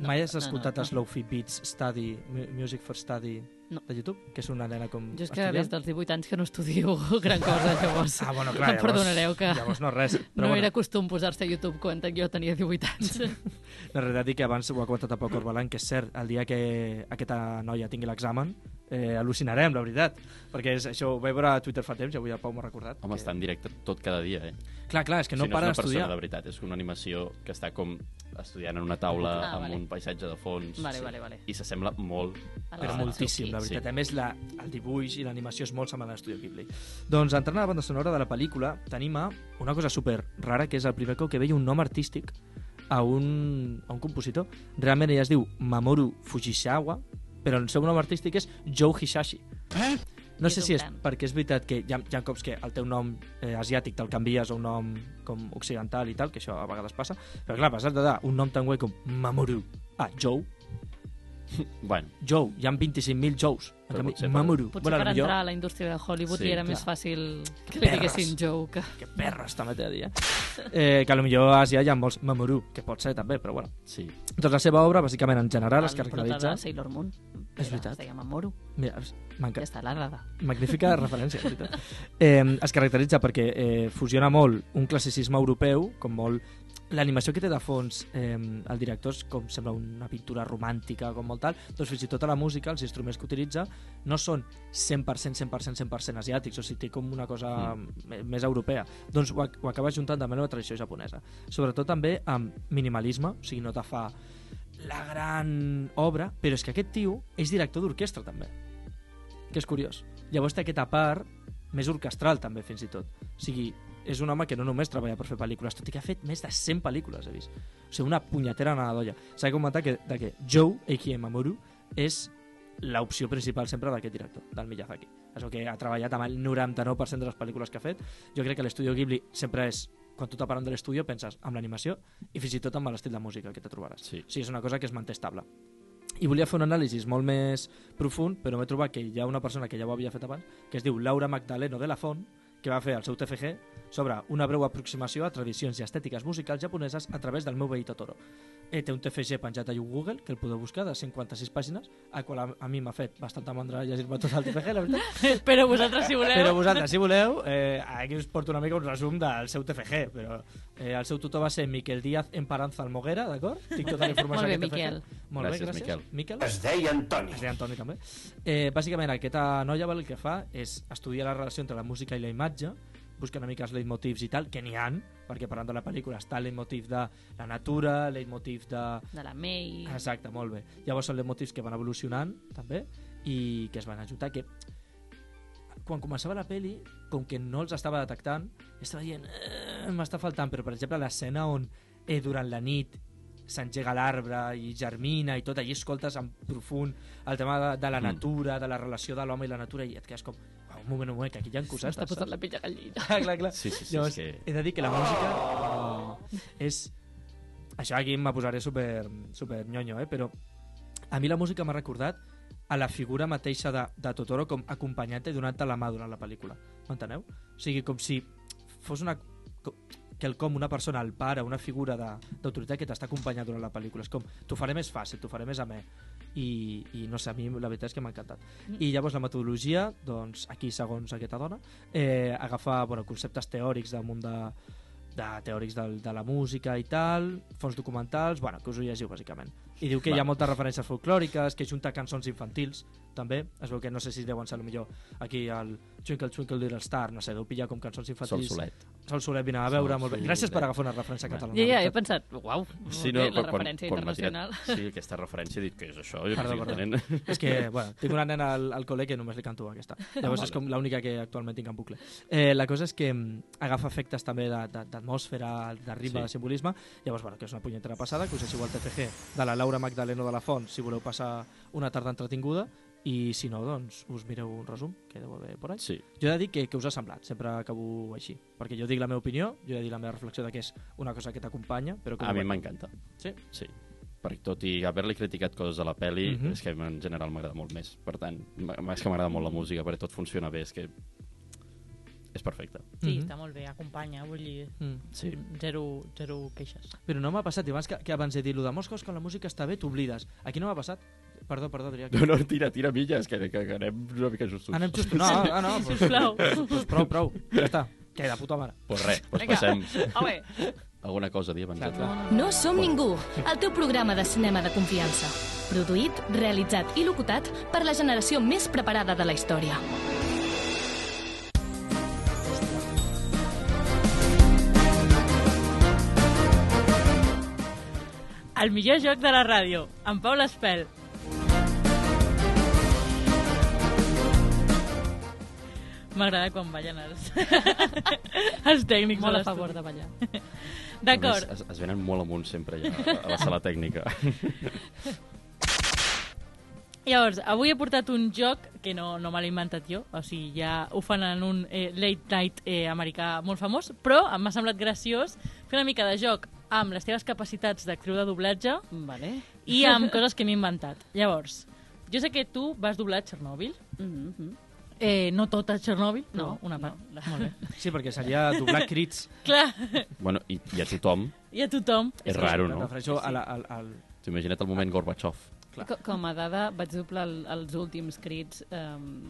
[SPEAKER 3] Mai has
[SPEAKER 5] no, no,
[SPEAKER 3] escoltat
[SPEAKER 5] no.
[SPEAKER 3] no, Slow Fi Beats Study, Mu- Music for Study
[SPEAKER 5] No.
[SPEAKER 3] de YouTube? Que és una nena com
[SPEAKER 5] Jo és que des dels 18 anys que no estudio gran cosa, llavors.
[SPEAKER 3] Ah, bueno, clar,
[SPEAKER 5] em
[SPEAKER 3] llavors,
[SPEAKER 5] perdonareu que
[SPEAKER 3] Llavors no res.
[SPEAKER 5] no
[SPEAKER 3] Però bueno,
[SPEAKER 5] era costum posar-se a YouTube quan jo tenia 18 anys.
[SPEAKER 3] la realitat és que abans ho ha comentat a Pau Corbalan, que és cert, el dia que aquesta noia tingui l'examen, eh, al·lucinarem, la veritat. Perquè és, això ho vaig veure a Twitter fa temps i avui el Pau m'ha recordat.
[SPEAKER 1] Home, està en directe tot cada dia, eh?
[SPEAKER 3] que... Clar, clar, és que no,
[SPEAKER 1] si no és
[SPEAKER 3] para
[SPEAKER 1] una
[SPEAKER 3] d'estudiar.
[SPEAKER 1] persona de veritat, és una animació que està com estudiant en una taula
[SPEAKER 5] Ah,
[SPEAKER 1] amb
[SPEAKER 5] vale.
[SPEAKER 1] un paisatge de fons.
[SPEAKER 5] Vale, vale, vale.
[SPEAKER 1] I s'assembla molt.
[SPEAKER 5] A
[SPEAKER 3] però
[SPEAKER 5] Ah,
[SPEAKER 3] moltíssim, la
[SPEAKER 5] sí.
[SPEAKER 3] veritat. A més, la, el dibuix i l'animació és molt semblant a l'Estudio Ghibli. Doncs entrant a la banda sonora de la pel·lícula, tenim a una cosa super rara, que és el primer cop que veia un nom artístic a un, a un compositor. Realment ella es diu Mamoru Fujisawa, però el seu nom artístic és Joe Hisashi. Eh? No
[SPEAKER 5] És
[SPEAKER 3] sé
[SPEAKER 5] un
[SPEAKER 3] si és
[SPEAKER 5] gran.
[SPEAKER 3] perquè és veritat que hi ha, hi ha cops que el teu nom eh, asiàtic te'l canvies a un nom com occidental i tal, que això a vegades passa, però clar, passar de dar un nom tan guai com Mamoru ah, a Joe,
[SPEAKER 1] Bueno,
[SPEAKER 3] Joe, hi ha 25.000 Joes. En
[SPEAKER 1] Però
[SPEAKER 3] canvi,
[SPEAKER 1] potser per-
[SPEAKER 3] Mamoru.
[SPEAKER 5] Potser
[SPEAKER 3] bueno,
[SPEAKER 5] per
[SPEAKER 3] millor,
[SPEAKER 5] entrar a la indústria de
[SPEAKER 1] Sí,
[SPEAKER 5] Hollywood sí, li era
[SPEAKER 1] clar.
[SPEAKER 5] clar. més fàcil que li diguessin Joe que...
[SPEAKER 3] Que perra està metea, dia. Eh, que potser a Àsia hi ha molts Mamoru, que pot ser també, però bueno.
[SPEAKER 1] sí.
[SPEAKER 3] Doncs la seva obra, bàsicament, en general, es
[SPEAKER 5] el prota
[SPEAKER 3] caracteritza...
[SPEAKER 5] de Sailor Moon.
[SPEAKER 3] És
[SPEAKER 5] Era-
[SPEAKER 3] veritat.
[SPEAKER 5] Es deia Mamoru.
[SPEAKER 3] Mira,
[SPEAKER 5] Ja
[SPEAKER 3] m'encanta.
[SPEAKER 5] està, l'Àrrada.
[SPEAKER 3] Magnífica referència, de veritat. Eh, es caracteritza perquè eh, fusiona molt un classicisme europeu, com molt l'animació que té de fons eh, el director és com sembla una pintura romàntica com molt tal, doncs fins i tot a la música els instruments que utilitza no són 100% 100% 100% asiàtics o sigui, té com una cosa mm. més europea doncs ho, ac- ho acaba juntant també amb la tradició japonesa sobretot també amb minimalisme o sigui, no te fa la gran obra, però és que aquest tio és director d'orquestra també que és curiós. Llavors té aquesta part més orquestral també, fins i tot. O sigui, és un home que no només treballa per fer pel·lícules, tot i que ha fet més de 100 pel·lícules, he vist. O sigui, una punyetera anada d'olla. S'ha de comentar que, de que Joe, a.k.a. Mamoru, és l'opció principal sempre d'aquest director, del Miyazaki. És el que ha treballat amb el 99% de les pel·lícules que ha fet. Jo crec que l'estudio Ghibli sempre és quan tu t'aparant de l'estudio penses amb l'animació i fins i tot amb l'estil de música que te trobaràs.
[SPEAKER 1] Sí.
[SPEAKER 3] O sigui, és una cosa que es manté estable. I volia fer un anàlisi molt més profund, però m'he trobat que hi ha una persona que ja ho havia fet abans, que es diu Laura Magdaleno de la Font, que va fer el seu TFG sobre una breu aproximació a tradicions i estètiques musicals japoneses a través del meu veí Totoro. Eh, té un TFG penjat a Google, que el podeu buscar, de 56 pàgines, a qual a, a mi m'ha fet bastanta mandra llegir-me tot el TFG, la veritat.
[SPEAKER 2] Però vosaltres, si voleu...
[SPEAKER 3] Però vosaltres, si voleu, eh, aquí us porto una mica un resum del seu TFG, però eh, el seu tutor va ser Miquel Díaz Emparanza Almoguera, d'acord? Tinc tota la informació
[SPEAKER 5] Molt bé,
[SPEAKER 3] d'aquest TFG.
[SPEAKER 5] Miquel.
[SPEAKER 3] Molt
[SPEAKER 1] Gràcies,
[SPEAKER 3] bé, gràcies. Miquel.
[SPEAKER 6] Es deia Antoni.
[SPEAKER 3] Es deia Antoni també. Eh, bàsicament, aquesta noia el que fa és estudiar la relació entre la música i la imatge, busca una mica els leitmotivs i tal, que n'hi han, perquè parlant de la pel·lícula està el leitmotiv de la natura, el leitmotiv de...
[SPEAKER 5] De la May.
[SPEAKER 3] Exacte, molt bé. Llavors són leitmotivs que van evolucionant, també, i que es van ajuntar, que quan començava la peli, com que no els estava detectant, estava dient, "Eh, m'està faltant, però per exemple l'escena on eh, durant la nit s'engega l'arbre i germina i tot, allí escoltes en profund el tema de, de la
[SPEAKER 1] Mm.
[SPEAKER 3] natura, de la relació de l'home i la natura i et quedes com, "Uau, un moment, un moment, que aquí hi ha coses.
[SPEAKER 5] S'està
[SPEAKER 3] saps?"
[SPEAKER 5] posant la pell de gallina.
[SPEAKER 3] Ah, clar, clar.
[SPEAKER 1] Sí, sí, sí,
[SPEAKER 3] Llavors,
[SPEAKER 1] és que-
[SPEAKER 3] he de dir que la música oh, és... Això aquí m'ha posaré super, super nyonyo, eh? però a mi la música m'ha recordat a la figura mateixa de, de Totoro com acompanyant-te i donant-te la mà durant la pel·lícula. M'enteneu? O sigui, com si fos una... co- quelcom, una persona, el pare, una figura de- d'autoritat que t'està acompanyant durant la pel·lícula. És com, t'ho faré més fàcil, t'ho faré més amè. I, I no sé, a mi la veritat és que m'ha encantat. I llavors la metodologia, doncs aquí segons aquesta dona, eh, agafa bueno, conceptes teòrics damunt de, de teòrics del, de la música i tal, fons documentals, bueno, que us ho llegiu, bàsicament. I diu que hi
[SPEAKER 1] Va.
[SPEAKER 3] ha moltes referències folclòriques, que junta cançons infantils, també. Es veu que no sé si deuen ser, millor aquí el Twinkle Twinkle Little Star, no sé, deu pillar com cançons
[SPEAKER 1] Sol
[SPEAKER 3] infantils.
[SPEAKER 1] solet.
[SPEAKER 3] Sol Solet, vine a veure,
[SPEAKER 1] Sol
[SPEAKER 3] molt bé.
[SPEAKER 1] Solet.
[SPEAKER 3] Gràcies per agafar una referència catalana.
[SPEAKER 5] Ja, ja,
[SPEAKER 3] la
[SPEAKER 5] he
[SPEAKER 3] veritat.
[SPEAKER 5] pensat, uau, sí, no, la referència internacional.
[SPEAKER 1] M'ha tirat, sí, aquesta referència, he dit, què és això? Jo
[SPEAKER 3] Perdó,
[SPEAKER 1] no
[SPEAKER 3] perdó.
[SPEAKER 1] estic entenent.
[SPEAKER 3] És que, bueno, tinc una nena al, al col·le que només li canto aquesta. Llavors
[SPEAKER 1] Ah,
[SPEAKER 3] és com l'única que actualment tinc en bucle. Eh, la cosa és que mm, agafa efectes també de- de- d'atmosfera, de, de
[SPEAKER 1] Sí.
[SPEAKER 3] ritme, sí. de simbolisme. Llavors, bueno, que és una punyetera passada, que us deixeu el TFG de la Laura Magdaleno de la Font si voleu passar una tarda entretinguda i si no, doncs, us mireu un resum que deu haver por ahí.
[SPEAKER 1] Sí.
[SPEAKER 3] Jo he de dir que, que us ha semblat, sempre acabo així. Perquè jo dic la meva opinió, jo he de dir la meva reflexió de que és una cosa que t'acompanya, però que...
[SPEAKER 1] A
[SPEAKER 3] no
[SPEAKER 1] mi
[SPEAKER 3] va-
[SPEAKER 1] m'encanta.
[SPEAKER 3] Sí?
[SPEAKER 1] Sí. Perquè tot i haver-li criticat coses a la pel·li,
[SPEAKER 3] Mhm.
[SPEAKER 1] és que en general m'agrada molt més. Per tant, m- és que m'agrada molt la música, perquè tot funciona bé, és que és perfecte.
[SPEAKER 2] Sí,
[SPEAKER 5] mm-hmm.
[SPEAKER 3] Mhm.
[SPEAKER 2] està molt bé, acompanya, vull dir,
[SPEAKER 3] Mm.
[SPEAKER 1] Sí.
[SPEAKER 2] zero, zero queixes.
[SPEAKER 3] Però no m'ha passat, i abans que, que abans he dit lo de moscos, quan la música està bé, t'oblides. Aquí no m'ha passat. Perdó, perdó, Adrià.
[SPEAKER 1] No, no, tira, tira milles, que, que, que anem una mica justos.
[SPEAKER 3] Anem just... No, ah, no, pues,
[SPEAKER 2] Sisplau.
[SPEAKER 3] pues prou, prou. Ja està. Que de puta mare.
[SPEAKER 1] Pues res, pues
[SPEAKER 5] Vinga.
[SPEAKER 1] passem
[SPEAKER 5] Home,
[SPEAKER 1] alguna cosa a dir abans
[SPEAKER 3] Clar,
[SPEAKER 1] de
[SPEAKER 3] clar.
[SPEAKER 7] No som ningú, el teu programa de cinema de confiança. Produït, realitzat i locutat per la generació més preparada de la història.
[SPEAKER 2] El millor joc de la ràdio, amb Pau L'Espel. M'agrada quan ballen els, els tècnics.
[SPEAKER 5] molt a
[SPEAKER 2] l'estudi.
[SPEAKER 5] favor de ballar.
[SPEAKER 2] D'acord.
[SPEAKER 1] A més, Es, es venen molt amunt sempre ja a, a la sala tècnica.
[SPEAKER 2] Llavors, avui he portat un joc que no, no me l'he inventat jo, o sigui, ja ho fan en un eh, late night eh, americà molt famós, però em m'ha semblat graciós fer una mica de joc amb les teves capacitats d'actriu de doblatge
[SPEAKER 5] Vale.
[SPEAKER 2] i amb coses que m'he inventat. Llavors, jo sé que tu vas doblar a Txernòbil,
[SPEAKER 5] Mm -hmm.
[SPEAKER 2] eh, no tot a Txernòbil, no,
[SPEAKER 5] No,
[SPEAKER 2] una part. No. Molt bé.
[SPEAKER 3] Sí, perquè seria doblar crits.
[SPEAKER 2] Clar,
[SPEAKER 1] bueno, i, i a tothom,
[SPEAKER 2] i a tothom.
[SPEAKER 1] és raro,
[SPEAKER 3] Em
[SPEAKER 1] no?
[SPEAKER 3] refereixo a la, al, al...
[SPEAKER 1] T'ho imagina't el moment Gorbachev.
[SPEAKER 3] Clar.
[SPEAKER 5] Co- Com a dada, vaig doblar el, els últims crits um,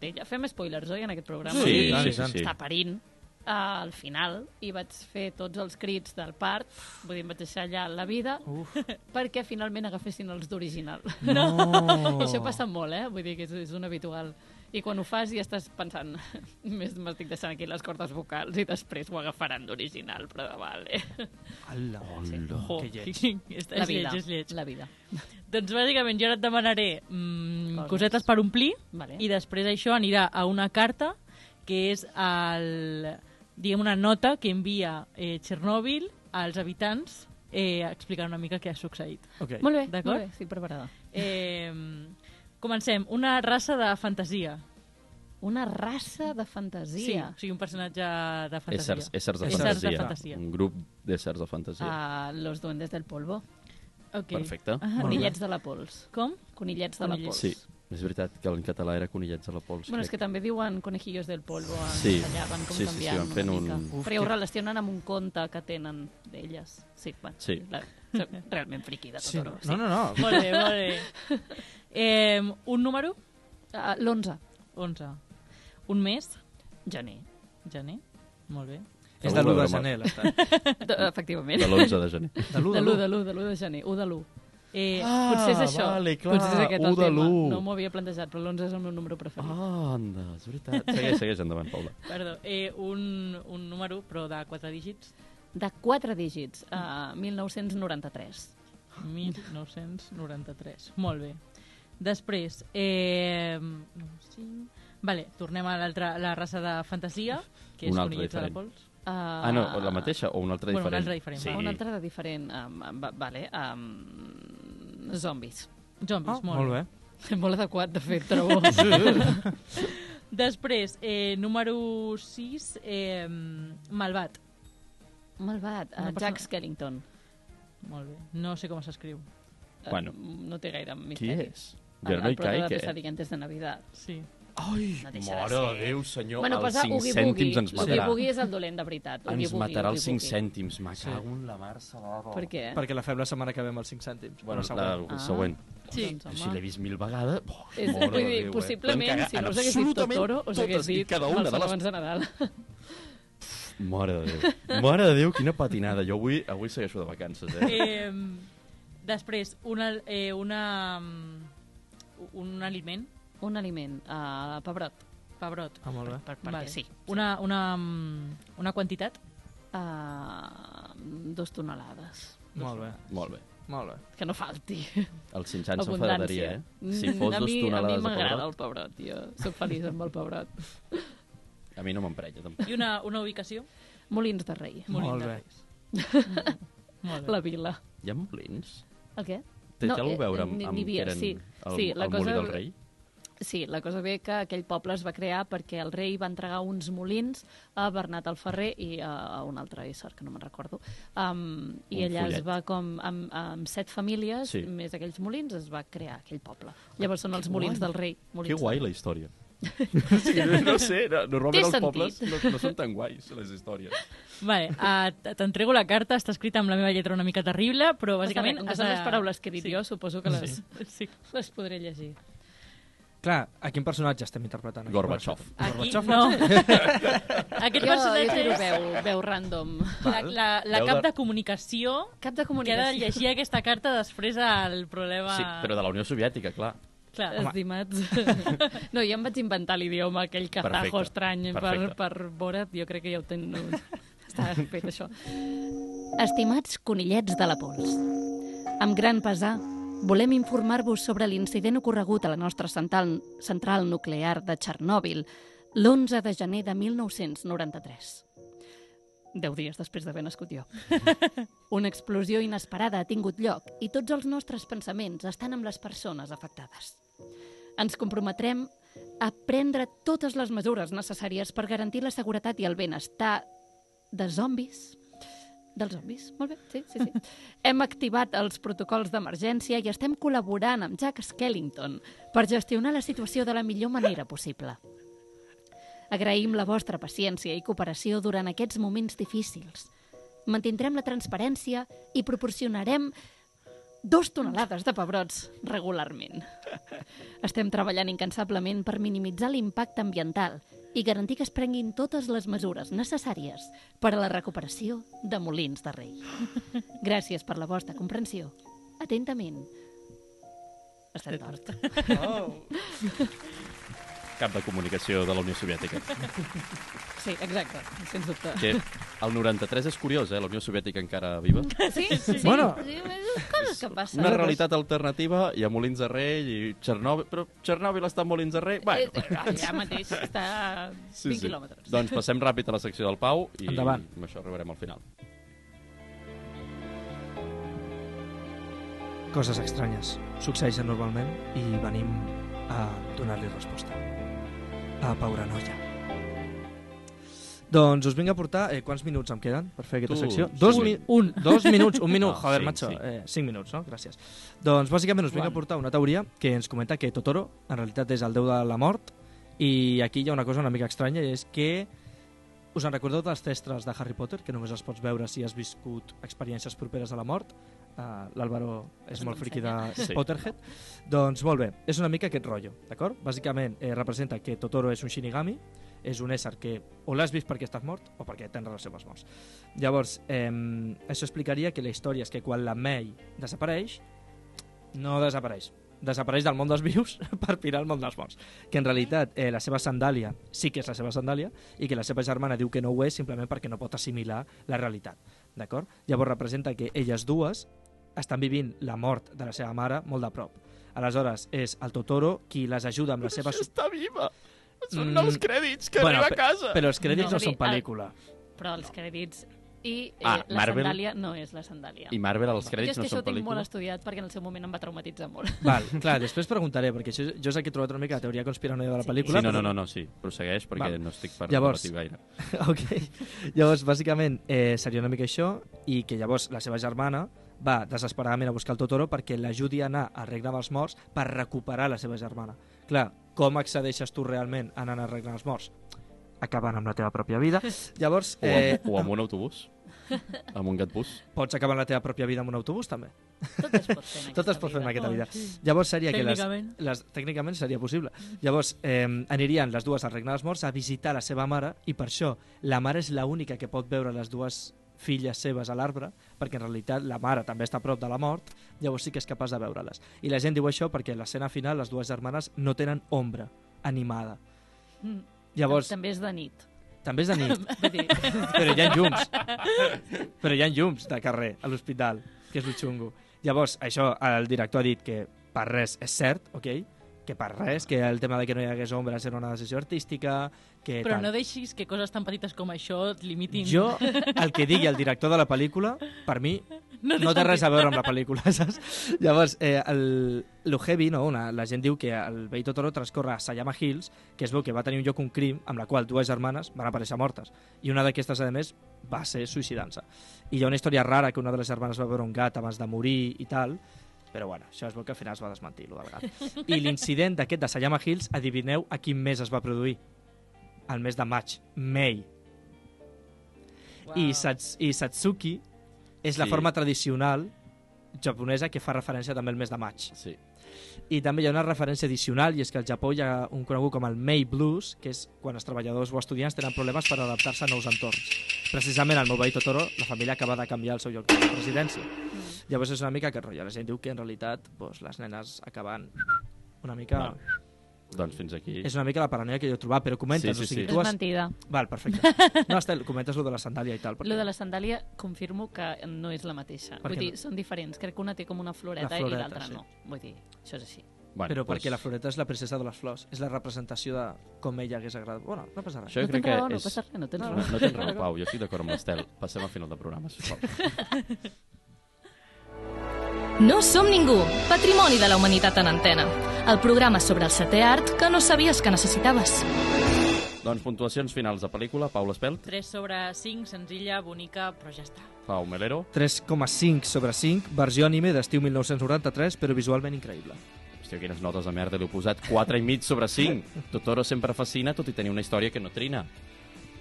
[SPEAKER 5] d'ella. Fem spoilers, oi, en aquest programa?
[SPEAKER 3] Sí,
[SPEAKER 1] sí,
[SPEAKER 3] tant,
[SPEAKER 1] sí, sí.
[SPEAKER 5] Està parint eh, al final i vaig fer tots els crits del part, vull dir, em vaig deixar allà la vida
[SPEAKER 3] Uf.
[SPEAKER 5] perquè finalment agafessin els d'original.
[SPEAKER 3] No!
[SPEAKER 5] Oh. Això passa molt, eh? Vull dir que és, és un habitual. I quan ho fas ja estàs pensant més m'estic deixant aquí les cordes vocals i després ho agafaran d'original, però vale.
[SPEAKER 3] Hola.
[SPEAKER 2] Jo,
[SPEAKER 3] Que lleig.
[SPEAKER 2] és
[SPEAKER 5] La vida.
[SPEAKER 2] lleig, és lleig.
[SPEAKER 5] La vida.
[SPEAKER 2] Doncs bàsicament jo ara et demanaré mm,
[SPEAKER 5] Coses.
[SPEAKER 2] cosetes per omplir
[SPEAKER 5] Vale.
[SPEAKER 2] i després això anirà a una carta que és el, diguem una nota que envia eh, Txernòbil als habitants eh, explicant una mica què ha succeït.
[SPEAKER 3] Ok.
[SPEAKER 5] Molt bé,
[SPEAKER 2] D'acord?
[SPEAKER 5] molt bé, estic preparada.
[SPEAKER 2] Eh, comencem. Una raça de fantasia.
[SPEAKER 5] Una raça de
[SPEAKER 2] Sí,
[SPEAKER 5] fantasia.
[SPEAKER 2] o sigui, un personatge de fantasia.
[SPEAKER 1] Éssers, éssers de
[SPEAKER 2] Éssers
[SPEAKER 1] fantasia. Mm,
[SPEAKER 2] de fantasia.
[SPEAKER 1] Un grup d'éssers de fantasia.
[SPEAKER 5] Ah, los duendes del polvo.
[SPEAKER 2] Okay.
[SPEAKER 1] Perfecte.
[SPEAKER 2] Ah,
[SPEAKER 5] Conillets de la pols.
[SPEAKER 2] Com?
[SPEAKER 5] Conillets de la
[SPEAKER 2] Conillets.
[SPEAKER 5] pols.
[SPEAKER 1] Sí, és veritat que en català era Conillets a la pols.
[SPEAKER 5] Bueno, és que
[SPEAKER 1] crec.
[SPEAKER 5] també diuen conejillos del polvo en
[SPEAKER 1] Sí.
[SPEAKER 5] castellà, van com
[SPEAKER 1] Sí, sí, sí,
[SPEAKER 5] canviant
[SPEAKER 1] van fent
[SPEAKER 5] una
[SPEAKER 1] un-
[SPEAKER 5] mica.
[SPEAKER 3] Uf,
[SPEAKER 5] Però ja ho
[SPEAKER 3] que-
[SPEAKER 5] relacionen amb un conte que tenen d'elles. Sí, bueno,
[SPEAKER 1] Sí.
[SPEAKER 5] La, soc realment friqui de tot
[SPEAKER 3] Sí.
[SPEAKER 5] oro.
[SPEAKER 3] No, no, no.
[SPEAKER 2] Molt bé, molt bé. Eh, un número?
[SPEAKER 5] Ah, L'11,
[SPEAKER 2] 11. Un mes?
[SPEAKER 5] gener.
[SPEAKER 2] Gener? Molt bé.
[SPEAKER 3] És de l'1 de
[SPEAKER 1] Broma.
[SPEAKER 3] gener, l'estat.
[SPEAKER 5] De, efectivament.
[SPEAKER 1] De l'11 de gener.
[SPEAKER 3] De l'1
[SPEAKER 5] De
[SPEAKER 3] de
[SPEAKER 5] l'1 de
[SPEAKER 3] l'1.
[SPEAKER 5] l'1 de l'1 de gener, 1 de l'1.
[SPEAKER 2] Eh,
[SPEAKER 1] Ah,
[SPEAKER 5] Potser és això.
[SPEAKER 1] vale, clar,
[SPEAKER 5] Potser és aquest
[SPEAKER 1] 1
[SPEAKER 5] el
[SPEAKER 1] de
[SPEAKER 5] tema.
[SPEAKER 1] l'1.
[SPEAKER 5] No m'ho havia plantejat, però l'11 és el meu número preferit.
[SPEAKER 1] Ah, anda, és veritat. Segueix, segueix endavant, Paula.
[SPEAKER 2] Perdó, eh, un, un número, però de 4 dígits.
[SPEAKER 5] De 4 dígits, ah, a 1993.
[SPEAKER 2] 1993. Molt bé. Després, eh, cinc... Vale, tornem a l'altra la raça de fantasia, que és
[SPEAKER 1] Una altra
[SPEAKER 2] Conillets de la
[SPEAKER 1] diferent.
[SPEAKER 2] Pols.
[SPEAKER 5] Ah,
[SPEAKER 1] Ah, no, la mateixa o una altra
[SPEAKER 2] Bueno,
[SPEAKER 1] diferent?
[SPEAKER 2] una altra diferent,
[SPEAKER 1] Sí.
[SPEAKER 5] Ah, Una altra de diferent. Um, um, va- vale, um, zombis.
[SPEAKER 2] Zombis,
[SPEAKER 3] Ah,
[SPEAKER 2] molt,
[SPEAKER 3] molt bé.
[SPEAKER 5] Molt adequat, de fet, trobo.
[SPEAKER 2] Després, eh, número 6, eh, Malvat.
[SPEAKER 5] Malvat,
[SPEAKER 2] Una
[SPEAKER 5] uh,
[SPEAKER 2] persona-
[SPEAKER 5] Jack Skellington.
[SPEAKER 2] Molt bé. No sé com s'escriu.
[SPEAKER 5] Eh,
[SPEAKER 1] Bueno.
[SPEAKER 5] No té gaire
[SPEAKER 1] Qui
[SPEAKER 5] misteri.
[SPEAKER 1] és? Jo
[SPEAKER 5] el,
[SPEAKER 1] no hi
[SPEAKER 5] el prota
[SPEAKER 1] caic,
[SPEAKER 5] de
[SPEAKER 1] eh?
[SPEAKER 5] Pesadillas de Navidad.
[SPEAKER 2] Sí.
[SPEAKER 1] Ai,
[SPEAKER 7] No deixa de
[SPEAKER 1] mare
[SPEAKER 7] ser.
[SPEAKER 1] de Déu, senyor,
[SPEAKER 5] bueno,
[SPEAKER 1] els
[SPEAKER 5] passa
[SPEAKER 1] 5
[SPEAKER 5] Oogie
[SPEAKER 1] cèntims
[SPEAKER 5] Boogie.
[SPEAKER 1] ens
[SPEAKER 5] Oogie
[SPEAKER 1] matarà.
[SPEAKER 5] Boogie és el dolent, de veritat. Oogie
[SPEAKER 1] ens
[SPEAKER 5] Boogie,
[SPEAKER 1] matarà els
[SPEAKER 5] Oogie
[SPEAKER 1] 5
[SPEAKER 5] Boogie.
[SPEAKER 1] cèntims. Me cago en la Mercè de la roba.
[SPEAKER 5] Per què?
[SPEAKER 3] Perquè la fem la setmana que ve amb els 5 cèntims.
[SPEAKER 1] Bueno,
[SPEAKER 3] la
[SPEAKER 1] la,
[SPEAKER 3] següent.
[SPEAKER 1] la
[SPEAKER 5] Ah.
[SPEAKER 1] següent.
[SPEAKER 2] Sí.
[SPEAKER 5] doncs,
[SPEAKER 1] Home. Si l'he vist mil vegades... Oh,
[SPEAKER 5] És,
[SPEAKER 1] mare
[SPEAKER 5] vull
[SPEAKER 1] de
[SPEAKER 5] dir,
[SPEAKER 1] Déu, eh? Podem
[SPEAKER 5] possiblement,
[SPEAKER 1] cagar
[SPEAKER 5] si
[SPEAKER 1] en
[SPEAKER 5] no us hagués dit
[SPEAKER 1] absolutament
[SPEAKER 5] Totoro, us hagués
[SPEAKER 1] totes i
[SPEAKER 5] dit
[SPEAKER 1] cada una de les...
[SPEAKER 5] de Nadal.
[SPEAKER 1] Mare de Déu. Mare de Déu, quina patinada. Jo avui, avui segueixo de vacances, eh?
[SPEAKER 2] Eh, després, una, eh, una, mm, un aliment,
[SPEAKER 5] Un aliment, uh, pebrot,
[SPEAKER 2] pebrot.
[SPEAKER 3] Ah, molt bé.
[SPEAKER 5] per, perquè
[SPEAKER 2] Vale.
[SPEAKER 5] sí.
[SPEAKER 2] Una, una, mm, una quantitat.
[SPEAKER 5] Uh, dos tonelades.
[SPEAKER 3] Molt bé.
[SPEAKER 1] Molt bé.
[SPEAKER 3] Molt bé.
[SPEAKER 5] Que no falti.
[SPEAKER 1] El Sinxan s'enfadaria,
[SPEAKER 5] Abundància. Mm.
[SPEAKER 1] eh? Si fos
[SPEAKER 5] a
[SPEAKER 1] dos
[SPEAKER 5] mi,
[SPEAKER 1] tonelades
[SPEAKER 5] A mi
[SPEAKER 1] de
[SPEAKER 5] m'agrada
[SPEAKER 1] pebrot,
[SPEAKER 5] el pebrot, jo. Soc feliç amb el pebrot.
[SPEAKER 1] a mi no m'emprenya, tampoc.
[SPEAKER 2] I una, una ubicació.
[SPEAKER 5] Molins de rei,
[SPEAKER 2] Molt,
[SPEAKER 3] Molt
[SPEAKER 2] bé.
[SPEAKER 3] bé.
[SPEAKER 2] Molt bé.
[SPEAKER 5] la vila.
[SPEAKER 1] Hi ha molins?
[SPEAKER 5] El què?
[SPEAKER 1] Té,
[SPEAKER 5] No,
[SPEAKER 1] té alguna
[SPEAKER 5] eh,
[SPEAKER 1] cosa a veure amb,
[SPEAKER 5] n'hi-
[SPEAKER 1] amb
[SPEAKER 5] n'hi havia,
[SPEAKER 1] que eren
[SPEAKER 5] sí.
[SPEAKER 1] el,
[SPEAKER 5] Sí, la
[SPEAKER 1] el
[SPEAKER 5] cosa-
[SPEAKER 1] molí del rei?
[SPEAKER 5] Sí, la cosa ve que aquell poble es va crear perquè el rei va entregar uns molins a Bernat el Ferrer i a, a un altre ésser, que no me'n recordo. Um, I
[SPEAKER 1] Un
[SPEAKER 5] allà
[SPEAKER 1] follet.
[SPEAKER 5] es va com... Amb, amb set famílies,
[SPEAKER 1] Sí.
[SPEAKER 5] sí. més aquells molins, es va crear aquell poble. Llavors són els molins del rei. Molins
[SPEAKER 1] Que guai
[SPEAKER 5] del
[SPEAKER 1] la història. sí, no sé, no,
[SPEAKER 5] Té
[SPEAKER 1] normalment els
[SPEAKER 5] sentit.
[SPEAKER 1] pobles no, no són tan guais, les històries.
[SPEAKER 2] Vale, uh, t'entrego la carta, està escrita amb la meva lletra una mica terrible, però bàsicament...
[SPEAKER 5] Bàsicament, com que
[SPEAKER 2] has
[SPEAKER 5] són
[SPEAKER 2] de-
[SPEAKER 5] les paraules que he dit sí.
[SPEAKER 2] sí.
[SPEAKER 5] jo, suposo que les,
[SPEAKER 2] Sí.
[SPEAKER 5] les podré llegir.
[SPEAKER 3] Clar, a quin personatge estem interpretant? aquí?
[SPEAKER 1] Gorbachev.
[SPEAKER 2] Aquí,
[SPEAKER 3] Gorbachev,
[SPEAKER 2] no. Aquest
[SPEAKER 5] Jo, jo
[SPEAKER 2] personatge
[SPEAKER 5] tiro
[SPEAKER 2] és
[SPEAKER 5] veu, veu random.
[SPEAKER 2] la, la, la
[SPEAKER 1] Veu
[SPEAKER 2] cap
[SPEAKER 1] de-
[SPEAKER 2] de comunicació
[SPEAKER 5] Cap
[SPEAKER 2] que ha
[SPEAKER 5] de
[SPEAKER 2] de
[SPEAKER 5] comunicació.
[SPEAKER 2] llegir aquesta carta després al problema...
[SPEAKER 1] Sí, però de la Unió Soviètica, clar.
[SPEAKER 2] Clar,
[SPEAKER 5] Estimats. No, jo em vaig inventar l'idioma aquell
[SPEAKER 1] Perfecte,
[SPEAKER 5] kazajo estrany per,
[SPEAKER 1] perfecte.
[SPEAKER 5] per Borat. Jo crec que ja ho tenen... Està fet, això. Estimats conillets de la pols, amb gran pesar, volem informar-vos sobre l'incident ocorregut a la nostra central, central nuclear de Txernòbil l'11 de gener de 1993. Deu dies després d'haver nascut jo. Una explosió inesperada ha tingut lloc i tots els nostres pensaments estan amb les persones afectades. Ens comprometrem a prendre totes les mesures necessàries per garantir la seguretat i el benestar de zombis dels zombis, molt bé, sí, sí, sí. Hem activat els protocols d'emergència i estem col·laborant amb Jack Skellington per gestionar la situació de la millor manera possible. Agraïm la vostra paciència i cooperació durant aquests moments difícils. Mantindrem la transparència i proporcionarem dos tonelades de pebrots regularment. Estem treballant incansablement per minimitzar l'impacte ambiental i garantir que es prenguin totes les mesures necessàries per a la recuperació de Molins de Rei. Gràcies per la vostra comprensió. Atentament. Estem tort.
[SPEAKER 1] Cap de comunicació de la Unió Soviètica.
[SPEAKER 5] Sí, exacte, sens dubte.
[SPEAKER 1] Que el 93 és curiós, eh? La Unió Soviètica encara viva.
[SPEAKER 5] Sí, sí, sí.
[SPEAKER 3] Bueno.
[SPEAKER 5] sí coses que passen.
[SPEAKER 1] Una realitat alternativa, hi ha Molins de Rei i Txernòbil, però Txernòbil està a Molins de Rei.
[SPEAKER 5] Eh,
[SPEAKER 1] Bueno,
[SPEAKER 5] allà mateix està a 20 sí, sí. quilòmetres.
[SPEAKER 1] Doncs passem ràpid a la secció del Pau i
[SPEAKER 3] Endavant.
[SPEAKER 1] amb això arribarem al final.
[SPEAKER 3] Coses estranyes succeeixen normalment i venim a donar-li resposta. A Pauranoia. Doncs us vinc a portar... Eh, quants minuts em queden per fer aquesta
[SPEAKER 1] Tu,
[SPEAKER 3] secció?
[SPEAKER 1] tu.
[SPEAKER 3] Dos, mi un, dos minuts, un minut.
[SPEAKER 1] No,
[SPEAKER 3] Joder,
[SPEAKER 1] cinc,
[SPEAKER 3] macho.
[SPEAKER 1] cinc.
[SPEAKER 3] Eh, cinc minuts, no? Gràcies. Doncs bàsicament us vinc a portar una teoria que ens comenta que Totoro en realitat és el déu de la mort i aquí hi ha una cosa una mica estranya i és que us en recordeu dels testres de Harry Potter, que només els pots veure si has viscut experiències properes a la mort? Uh, L'Àlvaro és molt friqui de
[SPEAKER 1] Sí.
[SPEAKER 3] Potterhead. Doncs molt bé, és una mica aquest rotllo, d'acord? Bàsicament eh, representa que Totoro és un Shinigami, és un ésser que o l'has vist perquè estàs mort o perquè tens relació amb els morts. Llavors, eh, això explicaria que la història és que quan la Mei desapareix, no desapareix. Desapareix del món dels vius per pirar al món dels morts. Que en realitat eh, la seva sandàlia sí que és la seva sandàlia i que la seva germana diu que no ho és simplement perquè no pot assimilar la realitat. D'acord? Llavors representa que elles dues estan vivint la mort de la seva mare molt de prop. Aleshores, és el Totoro qui les ajuda amb la seva... su-
[SPEAKER 1] Està viva!
[SPEAKER 3] Són nous
[SPEAKER 1] crèdits
[SPEAKER 3] Bueno,
[SPEAKER 1] arriba
[SPEAKER 3] pe- Però els crèdits no,
[SPEAKER 5] No.
[SPEAKER 3] no són pel·lícula.
[SPEAKER 5] Però els crèdits i eh,
[SPEAKER 1] Ah,
[SPEAKER 5] la
[SPEAKER 1] Marvel.
[SPEAKER 5] sandàlia no és la sandàlia.
[SPEAKER 1] I Marvel, els
[SPEAKER 5] jo
[SPEAKER 1] crèdits
[SPEAKER 5] és que
[SPEAKER 1] no
[SPEAKER 5] això
[SPEAKER 1] són
[SPEAKER 5] ho tinc molt
[SPEAKER 1] pel·lícula.
[SPEAKER 5] estudiat perquè en el seu moment em va traumatitzar molt.
[SPEAKER 3] Val, clar, després preguntaré, perquè això, jo és el que he trobat una mica la teoria conspiranoia de la pel·lícula.
[SPEAKER 1] Sí, no, no, no, no, sí, prossegueix perquè
[SPEAKER 3] Val.
[SPEAKER 1] no estic per
[SPEAKER 3] Llavors,
[SPEAKER 1] debatir gaire.
[SPEAKER 3] Ok. Llavors, bàsicament, eh, seria una mica això, i que llavors la seva germana va desesperadament a buscar el Totoro perquè l'ajudi a anar al regne dels morts per recuperar la seva germana. Clar, com accedeixes tu realment anant a arreglar els morts? Acabant amb la teva pròpia vida. Llavors,
[SPEAKER 1] O
[SPEAKER 3] eh,
[SPEAKER 1] amb, o amb un autobús. Amb un gatbús.
[SPEAKER 3] pots acabar amb la teva pròpia vida amb un autobús, també.
[SPEAKER 2] Tot es pot fer en
[SPEAKER 3] Tot es pot fer en
[SPEAKER 2] vida.
[SPEAKER 3] aquesta vida.
[SPEAKER 2] Oh, sí.
[SPEAKER 3] Llavors seria que les,
[SPEAKER 2] Tècnicament.
[SPEAKER 3] les, tècnicament seria possible. Llavors eh, anirien les dues al Regne dels Morts a visitar la seva mare i per això la mare és l'única que pot veure les dues filles seves a l'arbre, perquè en realitat la mare també està a prop de la mort, llavors sí que és capaç de veure-les. I la gent diu això perquè a l'escena final les dues germanes no tenen ombra animada.
[SPEAKER 5] Mm.
[SPEAKER 3] Llavors,
[SPEAKER 5] També és de nit.
[SPEAKER 3] també és de nit,
[SPEAKER 5] Vull dir,
[SPEAKER 3] però hi ha llums. Però hi ha llums de carrer a l'hospital, que és lo xungo. Llavors, això el director ha dit que per res és cert, ok? Que per res, que el tema de que no hi hagués ombres era una decisió artística, que
[SPEAKER 2] Però
[SPEAKER 3] tal.
[SPEAKER 2] no deixis que coses tan petites com això et limitin.
[SPEAKER 3] Jo, el que digui el director de la pel·lícula, per mi, no, no té res a veure amb la pel·lícula, saps? Llavors, eh, el, lo heavy, no? Una, la gent diu que el veí Totoro transcorre a Sayama Hills, que es veu que va tenir un lloc un crim amb la qual dues germanes van aparèixer mortes. I una d'aquestes, a més, va ser suïcidant-se. I hi ha una història rara que una de les germanes va veure un gat abans de morir i tal, però bueno, això es veu que al final es va desmentir, lo del gat. I l'incident d'aquest de Sayama Hills, adivineu a quin mes es va produir? Al mes de maig, May.
[SPEAKER 2] Wow.
[SPEAKER 3] I, sats, I Satsuki és la
[SPEAKER 1] Sí.
[SPEAKER 3] forma tradicional japonesa que fa referència també al mes de maig.
[SPEAKER 1] Sí.
[SPEAKER 3] I també hi ha una referència addicional, i és que al Japó hi ha un conegut com el May Blues, que és quan els treballadors o estudiants tenen problemes per adaptar-se a nous entorns. Precisament al meu veí Totoro, la família acaba de canviar el seu lloc de residència.
[SPEAKER 1] Mm.
[SPEAKER 3] Llavors és una mica aquest rotllo. La gent diu que en realitat doncs, les nenes acaben una mica...
[SPEAKER 1] Val. Doncs fins aquí.
[SPEAKER 3] És una mica la paranoia que jo he trobat, però
[SPEAKER 1] Sí,
[SPEAKER 3] comentes,
[SPEAKER 1] sí,
[SPEAKER 3] o sigui,
[SPEAKER 1] sí.
[SPEAKER 5] és
[SPEAKER 3] tu has...
[SPEAKER 5] mentida.
[SPEAKER 3] Val, perfecte. No, Estel, comentes lo de la sandàlia i tal. Perquè...
[SPEAKER 5] Lo de la sandàlia confirmo que no és la mateixa.
[SPEAKER 3] Per
[SPEAKER 5] Vull
[SPEAKER 3] què
[SPEAKER 5] dir,
[SPEAKER 3] no?
[SPEAKER 5] són diferents. Crec que una té com una floreta,
[SPEAKER 3] La floreta,
[SPEAKER 5] i l'altra
[SPEAKER 3] sí.
[SPEAKER 5] no. Vull dir, això és així.
[SPEAKER 1] Bueno,
[SPEAKER 3] Però
[SPEAKER 1] doncs,
[SPEAKER 3] perquè la floreta és la princesa de les flors, és la representació de com ella hagués agradat. Bueno, no passa res.
[SPEAKER 1] Això jo
[SPEAKER 5] no
[SPEAKER 1] crec
[SPEAKER 5] tens raó,
[SPEAKER 1] que
[SPEAKER 5] no
[SPEAKER 1] és...
[SPEAKER 5] passa res, no tens
[SPEAKER 1] No,
[SPEAKER 5] raó.
[SPEAKER 1] no tens raó, Pau. Jo estic d'acord amb l'Estel. Passem al final del programa, sisplau.
[SPEAKER 7] No som ningú, patrimoni de la humanitat en antena. El programa sobre el setè art que no sabies que necessitaves.
[SPEAKER 1] doncs puntuacions finals de pel·lícula. Pau L'Espelt,
[SPEAKER 2] 3 sobre 5, senzilla, bonica, però ja està.
[SPEAKER 1] Pau Melero.
[SPEAKER 3] 3,5 sobre 5, versió anime d'estiu 1993, però visualment increïble.
[SPEAKER 1] Hòstia, quines notes de merda li heu posat. 4 i mig sobre 5. Totoro sempre fascina, tot i tenir una història que no trina.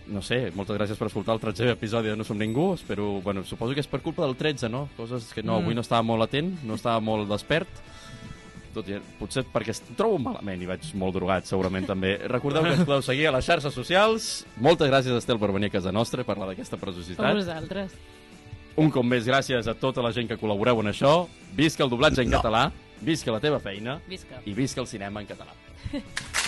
[SPEAKER 1] No sé, moltes gràcies per escoltar el 13è episodi de No som ningú. Espero, bueno, suposo que és per culpa del 13, no? Coses que no,
[SPEAKER 3] Mm.
[SPEAKER 1] avui no estava molt atent, no estava molt despert. Tot i, potser perquè es trobo malament i vaig molt drogat, segurament també. Recordeu que ens podeu seguir a les xarxes socials. Moltes gràcies, Estel, per venir a casa nostra i parlar d'aquesta
[SPEAKER 2] A
[SPEAKER 1] preciositat.
[SPEAKER 2] vosaltres.
[SPEAKER 1] Un cop més, gràcies a tota la gent que col·laboreu en això. Visca el doblatge en català, visca la teva feina
[SPEAKER 2] Visca.
[SPEAKER 1] i visca el cinema en català.